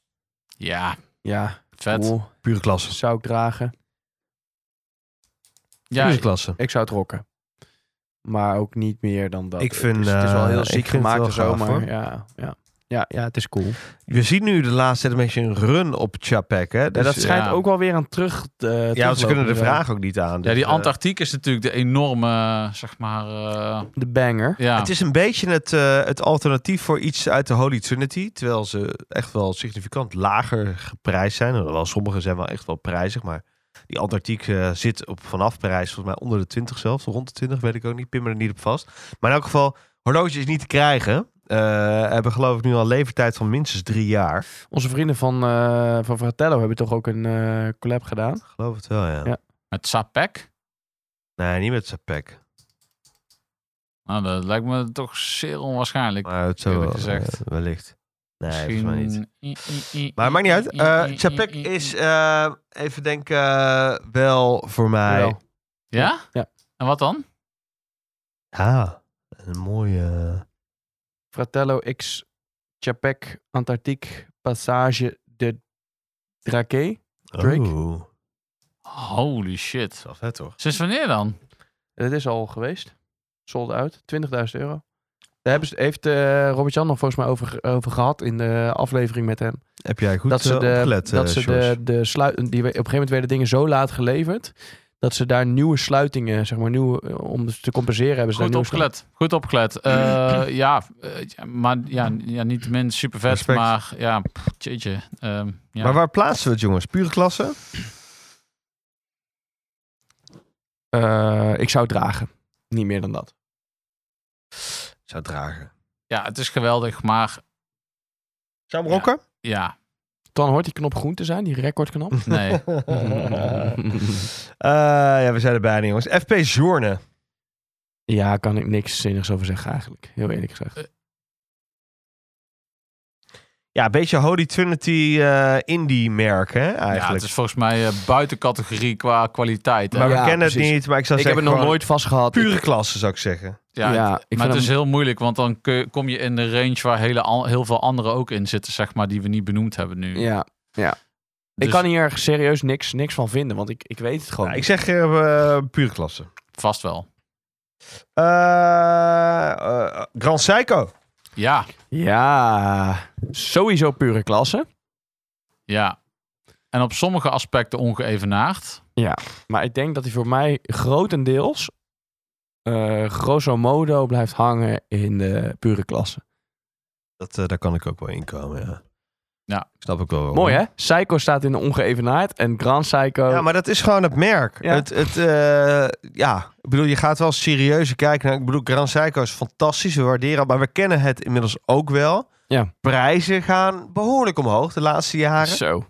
Ja, ja, vet. cool. Pure klasse. Zou ik dragen. Ja, Pure klasse. Ik zou het rocken. Maar ook niet meer dan dat. Ik vind, het, is, het is wel eh, heel ik ziek vind het gemaakt en wel zo, gaaf, maar hoor. ja, ja, ja, ja, het is cool. Je ziet nu de laatste tijd een beetje een run op Chapek. Hè? Dus, en dat schijnt ja. ook wel weer aan terug eh, eh, ja, want ze teruglopen, kunnen de zo. vraag ook niet aan. ja, dus, die eh, Antarctiek is natuurlijk de enorme, zeg maar, eh, De banger. ja. Het is een beetje het, eh, het alternatief voor iets uit de Holy Trinity. Terwijl ze echt wel significant lager geprijsd zijn. Wel, sommige zijn wel echt wel prijzig, maar die Antarctiek eh, zit op vanaf prijs volgens mij onder de 20 zelfs. Rond de 20 weet ik ook niet, pin me er niet op vast. Maar in elk geval, horloge is niet te krijgen. Eh, hebben geloof ik nu al levertijd van minstens drie jaar. Onze vrienden van, eh van Fratello hebben toch ook een eh, collab gedaan? Geloof het wel, ja. Ja. Met Sapek? Nee, niet met Sapek. Nou, dat lijkt me toch zeer onwaarschijnlijk. Maar het zou wel, Eerlijk gezegd. eh, wellicht. Nee, Misschien... volgens mij niet. I- i- i- Maar het maakt niet uit. i- i- Eh i- Chapek i- i- is, eh, even denken, eh, wel voor mij. Jawel. Ja? Ja. En wat dan? Ja, Ah, een mooie. Fratello X, Chapek, Antarctiek, Passage de Drake. Drake? Oh, dat Holy shit. is wel vet toch? Sinds wanneer dan? Dat is al geweest. Sold uit. 20.000 euro. Daar hebben ze, heeft eh, Robert-Jan nog volgens mij over, over gehad in de aflevering met hem. Heb jij goed dat ze, eh, de, opgelet, dat eh, ze George? de, de sluit, die, we- op een gegeven moment werden dingen zo laat geleverd. Dat ze daar nieuwe sluitingen, zeg maar, nieuwe, eh, om ze te compenseren hebben ze Goed daar nieuwe sluitingen. opgelet. Goed opgelet. Eh, ja, eh, ja, maar ja, ja, niet min super vet, Respect. maar ja, pff, jeetje. Ehm, ja. Maar waar plaatsen we het, jongens? Pure klasse? Eh, ik zou het dragen. Niet meer dan dat. Zou dragen. ja, het is geweldig, maar Zou hem rocken? ja, Dan hoort die knop groen te zijn, die recordknop. nee. Eh, ja, we zijn er bijna, jongens. FP Journe. ja, kan ik niks zinnigs over zeggen eigenlijk. Heel eerlijk gezegd. Ja, een beetje Holy Trinity eh, indie merk, hè, Ja, eigenlijk. het is volgens mij eh, buiten categorie qua kwaliteit. hè. Maar we Ja, kennen precies. het niet, maar ik zou Ik heb zeggen het nog gewoon nooit vastgehad. pure klasse, zou ik zeggen. Ja, Ja, het- ik maar vind het is hem- heel moeilijk, want dan kun je- kom je in de range waar hele an- heel veel anderen ook in zitten, zeg maar, die we niet benoemd hebben nu. Ja. Dus Ik kan hier serieus niks, niks van vinden, want ik, ik weet het gewoon. Ja, ik niet. zeg eh, eh, pure klasse. vast wel. Eh eh, Grand Psycho. Ja, ja, sowieso pure klasse. ja. En op sommige aspecten ongeëvenaard. Maar ik denk dat hij voor mij grotendeels, eh grosso modo, blijft hangen in de pure klasse. Dat, eh, daar kan ik ook wel in komen, ja. Ja. Ik Snap ik wel. waarom. Mooi hè? Psycho staat in de ongeëvenaard en Grand Psycho. Ja, maar dat is gewoon het merk. Ja. Het, het, eh, ja. Ik bedoel, je gaat wel serieuze kijken. naar. ik bedoel, Grand Psycho is fantastisch. We waarderen het, maar we kennen het inmiddels ook wel. Ja. Prijzen gaan behoorlijk omhoog de laatste jaren. Zo.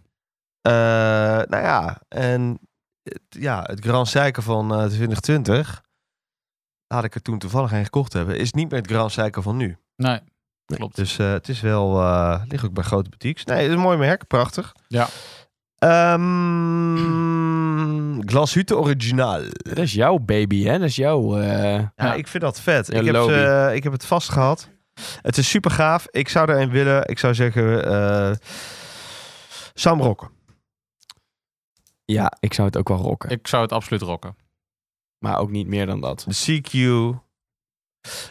Eh, nou ja, en het, ja, het Grand Cycle van eh, 2020, laat ik er toen toevallig een gekocht hebben, is niet meer het Grand Cycle van nu. Nee, klopt. Dus eh, het is wel, eh ligt ook bij grote boutiques. Nee, het is een mooi merk, prachtig. Ja. Ehm Glashütte Original. Dat is jouw baby hè? Dat is jouw... eh, Ja, Ja. ik vind dat vet. Ja, ik, heb lobby. ze, eh, ik heb het vast gehad. Het is super gaaf. Ik zou er een willen. Ik zou zeggen, eh Sam Rocken. Ja, ik zou het ook wel rocken. Ik zou het absoluut rocken. Maar ook niet meer dan dat. de CQ,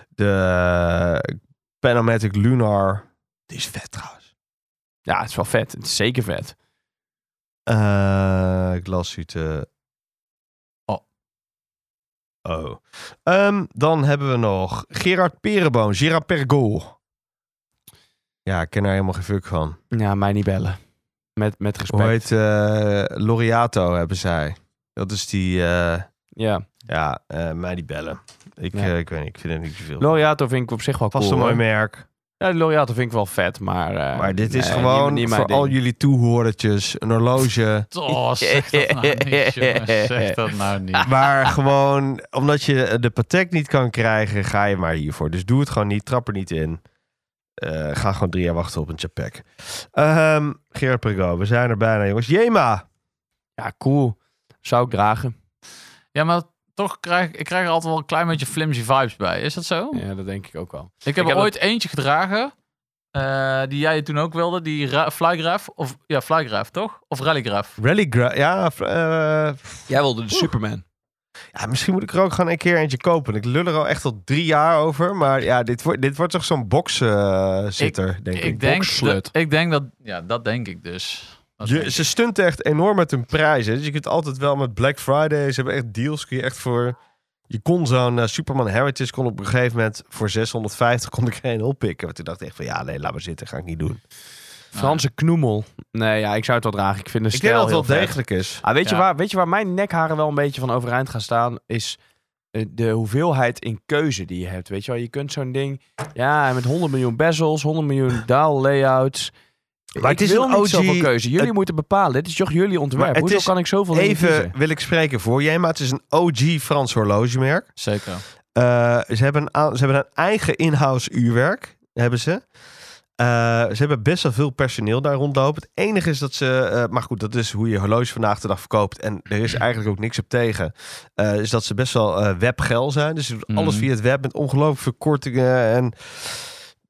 de Panamatic eh, Lunar. Die is vet trouwens. Ja, het is wel vet. Het is zeker vet. Eh glashütte. Oh. Oh. Ehm, dan hebben we nog Gerard Perenboom, Gerard Pergo. Ja, ik ken daar helemaal geen fuck van. Ja, mij niet bellen. Met, met respect. Hoe heet eh, Laureato hebben zij. Dat is die, eh, Ja. ja, eh, mij die bellen. Ik, Ja. eh, ik weet niet, ik vind het niet zoveel. Laureato vind ik op zich wel Vast cool. een mooi hoor. merk. Ja, Laureato vind ik wel vet, maar... eh, Maar dit is nee, gewoon niet- niet mijn voor ding. al jullie toehoordertjes een horloge. Oh, zeg dat nou niet, jongens. Zeg dat nou niet. Maar gewoon, omdat je de patek niet kan krijgen, ga je maar hiervoor. Dus doe het gewoon niet, trap er niet in. Eh, ga gewoon drie jaar wachten op een chapek. Ehm Gerard Pergo, we zijn er bijna, jongens. Jema! Ja, cool. Zou ik dragen. Ja, maar toch krijg ik krijg er altijd wel een klein beetje flimsy vibes bij. Is dat zo? Ja, dat denk ik ook wel. Ik heb Ik er heb ooit eentje gedragen. eh, die jij toen ook wilde, die ra- Flygraph. Of, ja, Flygraph, toch? Of Rallygraph. Rallygraph, ja, v- eh, f- Jij wilde de Superman. ja. Misschien moet ik er ook gewoon een keer eentje kopen. Ik lul er al echt al drie jaar over. Maar ja, dit, wordt dit wordt toch zo'n boxzitter, denk ik. Ik denk, boxslut. dat, ik denk dat... Ja, dat denk ik dus. Dat denk Je, ik. ze stunt echt enorm met hun prijzen. Dus je kunt altijd wel met Black Friday. Ze hebben echt deals. Kun je echt voor. Je kon zo'n eh, Superman Heritage kon op een gegeven moment voor 650 kon ik geen oppikken. Want toen dacht ik echt van ja, nee, laat maar zitten, ga ik niet doen. Franse knoemel. Nee, ja, ik zou het wel dragen. Ik vind de ik stijl denk dat het wel heel vet. degelijk is. Ah, weet, je Ja. waar, weet je waar mijn nekharen wel een beetje van overeind gaan staan? Is eh, de hoeveelheid in keuze die je hebt. Weet je wel, je kunt zo'n ding... Ja, met 100 miljoen bezels, 100 miljoen dial layouts. Maar ik het is wil een niet OG zoveel keuze. Jullie het- moeten bepalen. Dit is toch jullie Maar ontwerp. het Hoezo is kan ik zoveel dingen Even kiezen? wil ik spreken voor jij, maar het is een OG Frans horlogemerk. Zeker. Eh, ze, hebben een, aan- ze hebben een eigen in-house uurwerk, hebben ze. Eh, ze hebben best wel veel personeel daar rondlopen. Het enige is dat ze, eh, maar goed, dat is hoe je horloge vandaag de dag verkoopt. En er is eigenlijk ook niks op tegen. Eh, is dat ze best wel eh webgeil zijn. Dus ze doen alles Mhm. via het web met ongelooflijk veel kortingen. En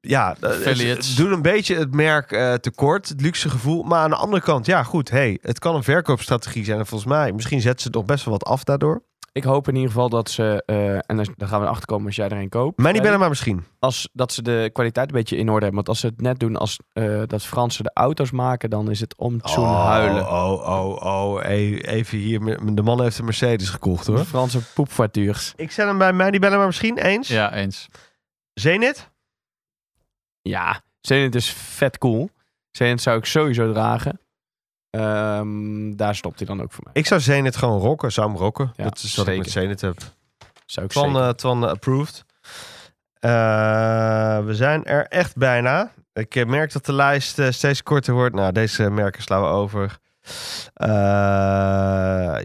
ja, eh, Affiliates. het doet een beetje het merk eh, tekort, het luxe gevoel. Maar aan de andere kant, ja goed, hey, het kan een verkoopstrategie zijn. En volgens mij, misschien zetten ze toch best wel wat af daardoor. Ik hoop in ieder geval dat ze... eh, en dan daar gaan we achter komen als jij er een koopt. Maar niet Freddy. bellen, maar misschien. als dat ze de kwaliteit een beetje in orde hebben. Want als ze het net doen als eh, dat Fransen de auto's maken, dan is het om zo'n huilen. Oh, oh, oh. E- Even hier. m- De man heeft een Mercedes gekocht De hoor. Franse poepvoituurs. Ik zet hem bij mij, die bellen maar misschien eens. Ja, eens. Zenit? Ja, Zenit is vet cool. Zenit zou ik sowieso dragen. Ehm, daar stopt hij dan ook voor mij. Ik zou Zenit gewoon rocken. Zou hem rocken. Ja, dat is wat ik met zeker. Zenit heb. Zou ik Twan, zeker. eh, Twan eh, approved. Eh, we zijn er echt bijna. Ik eh, merk dat de lijst eh, steeds korter wordt. Nou, deze merken slaan we over. Eh,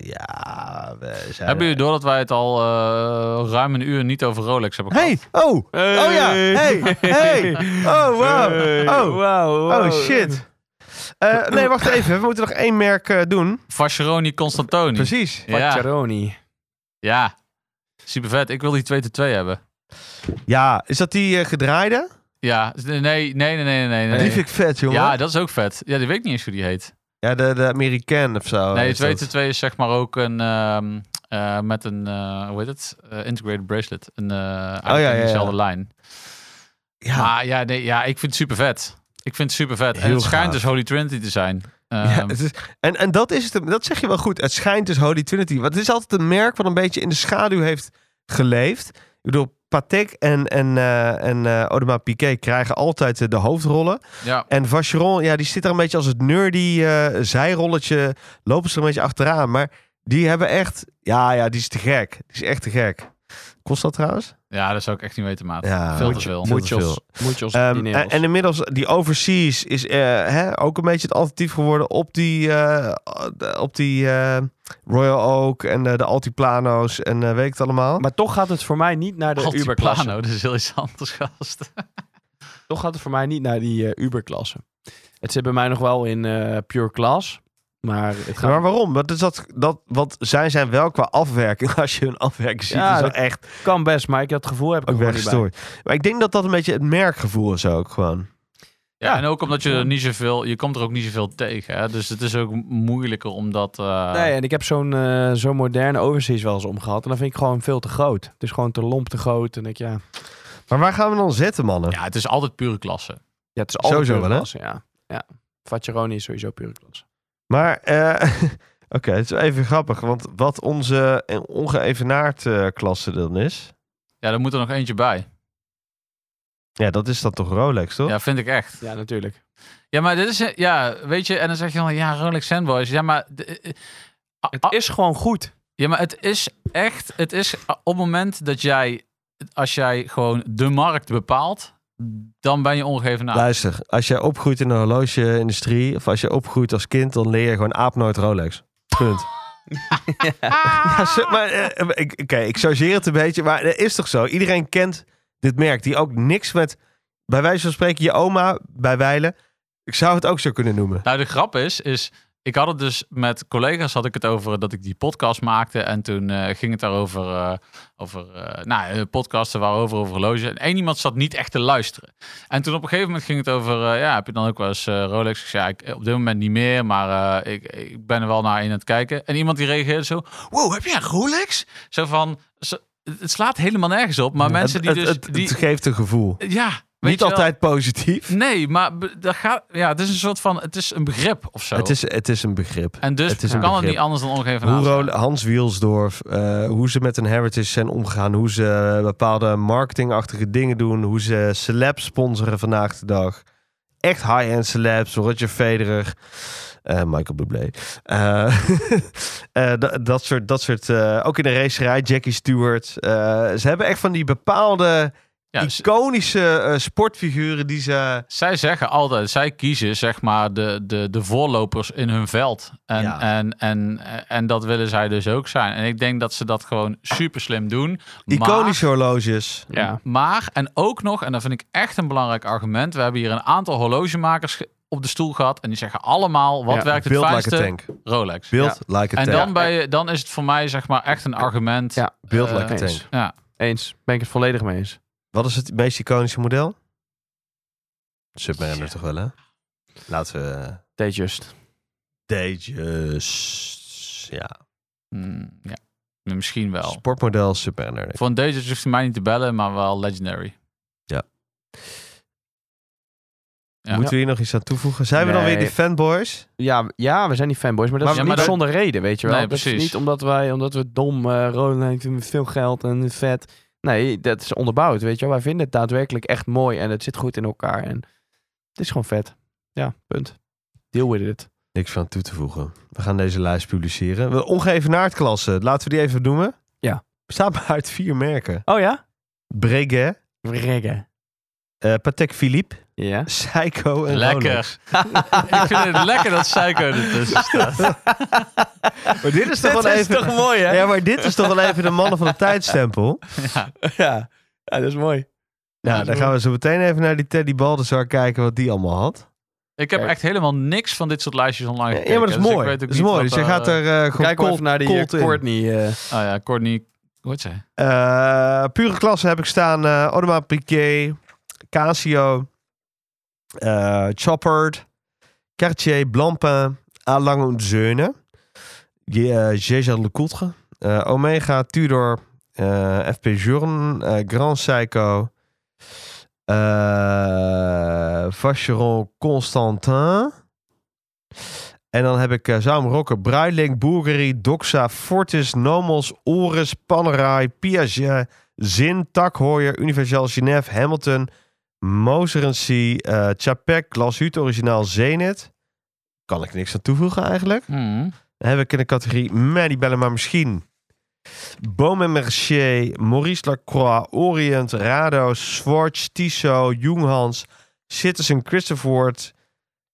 ja, we zijn... Hebben jullie door dat wij het al eh, ruim een uur niet over Rolex hebben gehad? Hey, oh, oh ja, hey, hey, oh wow, oh, oh shit. Eh, nee, wacht even, we moeten nog één merk eh, doen. Fascheroni Constantoni. Precies. Ja, ja. Super vet. Ik wil die 2 2 hebben. Ja, is dat die eh, gedraaide? Ja, nee, nee, nee, nee, nee. nee, Die vind ik vet, jongen. ja, Ja, dat is ook vet. Ja, die weet ik niet eens hoe die heet. de, de Amerikaan of zo. nee, Oh, is dat. 2 2 is zeg maar ook een... ehm, eh, met een, eh, hoe heet het? Eh, integrated bracelet. Een, eh eigenlijk Oh ja, ja, ja. dezelfde lijn. Ja. Maar ja, nee, ja, ik vind het super vet. Ik vind het super vet. en Heel het schijnt gaaf. dus Holy Trinity te zijn. Ja, Ehm, het is, en, en dat is het. hem. Dat zeg je wel goed. Het schijnt dus Holy Trinity. Want het is altijd een merk wat een beetje in de schaduw heeft geleefd. Ik bedoel, Patek en, en, eh, en eh, Audemars Piguet krijgen altijd eh, de hoofdrollen. ja. En Vacheron, ja, die zit er een beetje als het nerdy eh, zijrolletje. Lopen ze er een beetje achteraan. Maar die hebben echt... Ja, ja, die is te gek. Die is echt te gek. Kost dat trouwens? ja, dat zou ik echt niet weten, maat. Ja, Veel te moet je- veel. moet je- Muchos. Muchos. Ehm, dineros. en, en inmiddels, die overseas is eh, hè, ook een beetje het alternatief geworden op die, eh, op die eh, Royal Oak en eh, de Altiplano's en eh weet ik het allemaal. Maar toch gaat het voor mij niet naar de Altiplano, Uber-klasse. Nou, dat is heel iets anders, gast. Toch gaat het voor mij niet naar die eh, Uber-klasse. Het zit bij mij nog wel in eh, pure class. Maar het gaat maar waarom? Want is dat, dat, want zij zijn wel qua afwerking, als je hun afwerking ziet, Ja, is dat dat- echt kan best, maar ik dat gevoel heb ik ook er gewoon niet bij. weggestoord. Maar ik denk dat dat een beetje het merkgevoel is ook gewoon. Ja, en ook omdat je er niet zoveel, je komt er ook niet zoveel tegen. Hè? Dus het is ook moeilijker omdat. eh, Nee, en ik heb zo'n eh, zo'n moderne overseas wel eens omgehad. En dan vind ik gewoon veel te groot. Het is gewoon te lomp, te groot. En ik, ja, Maar waar gaan we dan zetten, mannen? Ja, het is altijd pure klasse. ja het is altijd Sowieso pure wel, hè? klasse, ja. ja. Faccheroni is sowieso pure klasse. Maar, eh, oké, het is wel even grappig. Want wat onze eh, ongeëvenaard eh, klasse dan is, Ja, daar moet er nog eentje bij. ja, dat is dan toch Rolex, toch? Ja, vind ik echt. Ja, natuurlijk. Ja, maar dit is, ja, weet je, en dan zeg je dan, ja, Rolex Sandboys. Ja, maar, de- eh, ah, Het ah, is gewoon goed. ja, maar het is echt, het is ah, op het moment dat jij, als jij gewoon de markt bepaalt, dan ben je ongeëvenaard. Luister, als jij opgroeit in de horloge-industrie... of als je opgroeit als kind, dan leer je gewoon aapnoot Rolex. Punt. ja, zo- maar, eh, ik, oké, ik chargeer het een beetje, maar het is toch zo? Iedereen kent dit merk, die ook niks met... Bij wijze van spreken, je oma bij Weilen... Ik zou het ook zo kunnen noemen. Nou, de grap is, is ik had het dus met collega's had ik het over dat ik die podcast maakte en toen eh, ging het daarover eh, over eh, nou eh, podcasten waarover over horloge en één iemand zat niet echt te luisteren. En toen op een gegeven moment ging het over eh, ja heb je dan ook wel eens eh, Rolex? Ik zei ja, ik, op dit moment niet meer, maar eh, ik, ik ben er wel naar in aan het kijken. En iemand die reageerde zo wow heb jij een Rolex? Zo van zo- het het slaat helemaal nergens op, maar mensen die het, dus het- het die geeft een gevoel. ja weet Niet je wel. altijd positief. Nee, maar be- dat gaat, ja, het is een soort van, het is een begrip of zo. Het is, het is een begrip. En dus Het is kan een het begrip. niet anders dan ongeven Hoe Rol- Hans Wielsdorf, eh, hoe ze met hun heritage zijn omgegaan, hoe ze eh, bepaalde marketingachtige dingen doen, hoe ze celebs sponsoren vandaag de dag. Echt high-end celebs, Roger Federer, eh, Michael Bublé. Eh, eh, da- dat soort, dat soort eh, ook in de racerij, Jackie Stewart. Eh, ze hebben echt van die bepaalde Ja, z- iconische eh, sportfiguren die ze... zij zeggen altijd, zij kiezen zeg maar de, de, de voorlopers in hun veld. En, Ja. en, en, en dat willen zij dus ook zijn. En ik denk dat ze dat gewoon super slim doen. Iconische horloges. Ja. Maar, en ook nog, en dat vind ik echt een belangrijk argument. We hebben hier een aantal horlogemakers ge- op de stoel gehad. En die zeggen allemaal, wat Ja, werkt het Build like fijnste? a tank. Rolex. Build like a En tank. dan, bij, dan is het voor mij zeg maar echt een argument. Ja. Build eh, like a eens. tank. ja. Eens. Ben ik het volledig mee eens. Wat is het meest iconische model? Submariner toch wel, hè? Laten we... eh, T-just. Deetjes. Ja. Mm, ja. Misschien wel. Sportmodel Submariner. Voor een Dezus hoeft hij mij niet te bellen, maar wel Legendary. Ja. Moeten we hier nog iets aan toevoegen? Zijn we dan Nee. weer die fanboys? Ja, ja, we zijn die fanboys, maar dat Maar- is Ja, maar niet dat- zonder reden, weet je wel. Nee, dat is precies. niet omdat wij, omdat we dom eh rollen en veel geld en vet. Nee, dat is onderbouwd, weet je wel. Wij vinden het daadwerkelijk echt mooi en het zit goed in elkaar. En het is gewoon vet. Ja, punt. Deal with it. Niks van toe te voegen. We gaan deze lijst publiceren. We- Ongeëvenaardklasse. Laten we die even noemen. Ja. Bestaat maar uit vier merken. Oh ja? Breguet. Reggae. eh, Patek Philippe. Ja. Psycho en Rolex. Lekker. ik vind het lekker dat Psycho ertussen staat. Maar dit is toch wel even... mooi, hè? Ja, maar dit is toch wel even de mannen van de tijdstempel. Ja. ja, dat is mooi. Nou, dan gaan we zo meteen even naar die Teddy Baldassar kijken wat die allemaal had. Ik heb Kijk. echt helemaal niks van dit soort lijstjes online gekeken. Ja, maar dat is dus ik mooi. weet ook dat is niet mooi. wat, Dus je eh, gaat er eh gewoon Kijk cold, even naar die eh, cold in. Courtney. eh, Oh ja, Courtney... Hoe heet zij? Eh, pure klasse heb ik staan. eh Audemars Piguet, Casio, eh Choppard, Cartier, Blancpain, Alain eh, Zeune, Jésus Lecoutre, eh, Omega, Tudor, eh, FP Journe, eh, Grand Seiko, eh, Vacheron Constantin. En dan heb ik eh Zaum Rocker, Bruiling, Bulgari, Doxa, Fortis, Nomos, Oris, Panerai, Piaget, Zin, Takhooier, Universal Genève, Hamilton, Moserency, eh Chapek, Glashut, Originaal, Zenit. Kan ik niks aan toevoegen eigenlijk. Dan heb ik in de categorie Medibellen, maar misschien. Bomen Mercier, Maurice Lacroix, Orient, Rado, Schwartz, Tissot, Jonghans, Citizen Christophoort,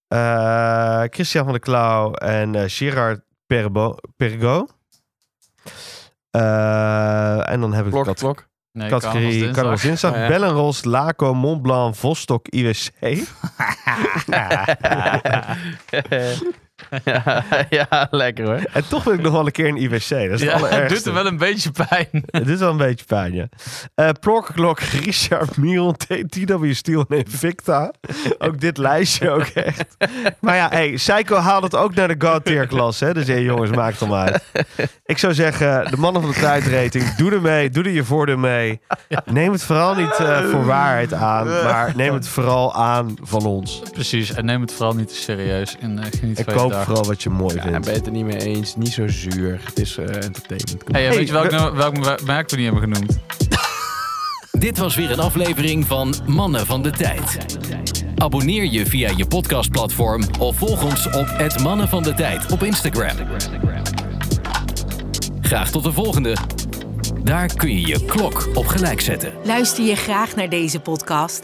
eh, Christian van der Klauw en eh, Gerard Perbo, Pergo. Eh, en dan heb ik de Klok, cate- klok. Nee, categorie Carnaval Carnaval Dinsdag, Dinsdag. Oh, ja. Bellenros, Laco, Montblanc, Vostok, IWC. ja, ja, lekker hoor. en toch wil ik nog wel een keer een IWC. Dat is het Ja, het allerergste. doet er wel een beetje pijn. Het is wel een beetje pijn, ja. Eh Plokkenklok, Richard Miron, T- TW Steel en Invicta. Ook dit lijstje ook echt. Maar ja, hey, Psycho haalt het ook naar de God tier klas. Hè? Dus hey, jongens, maakt hem uit. Ik zou zeggen, de mannen van de tijdrating, doe er mee. Doe er je voordeel mee. Neem het vooral niet eh, voor waarheid aan. Maar neem het vooral aan van ons. Precies, en neem het vooral niet te serieus. En eh, geniet En van je koop dag. vooral wat je mooi Ja, ben vindt. je het er niet mee eens? Niet zo zuur. Het is eh, entertainment. Kom Hey, Hey, weet je welk, we- nummer- welk, merk we niet hebben genoemd? Dit was weer een aflevering van Mannen van de Tijd. Abonneer je via je podcastplatform of volg ons op het Mannen van de Tijd op Instagram. Graag tot de volgende. Daar kun je je klok op gelijk zetten. Luister je graag naar deze podcast?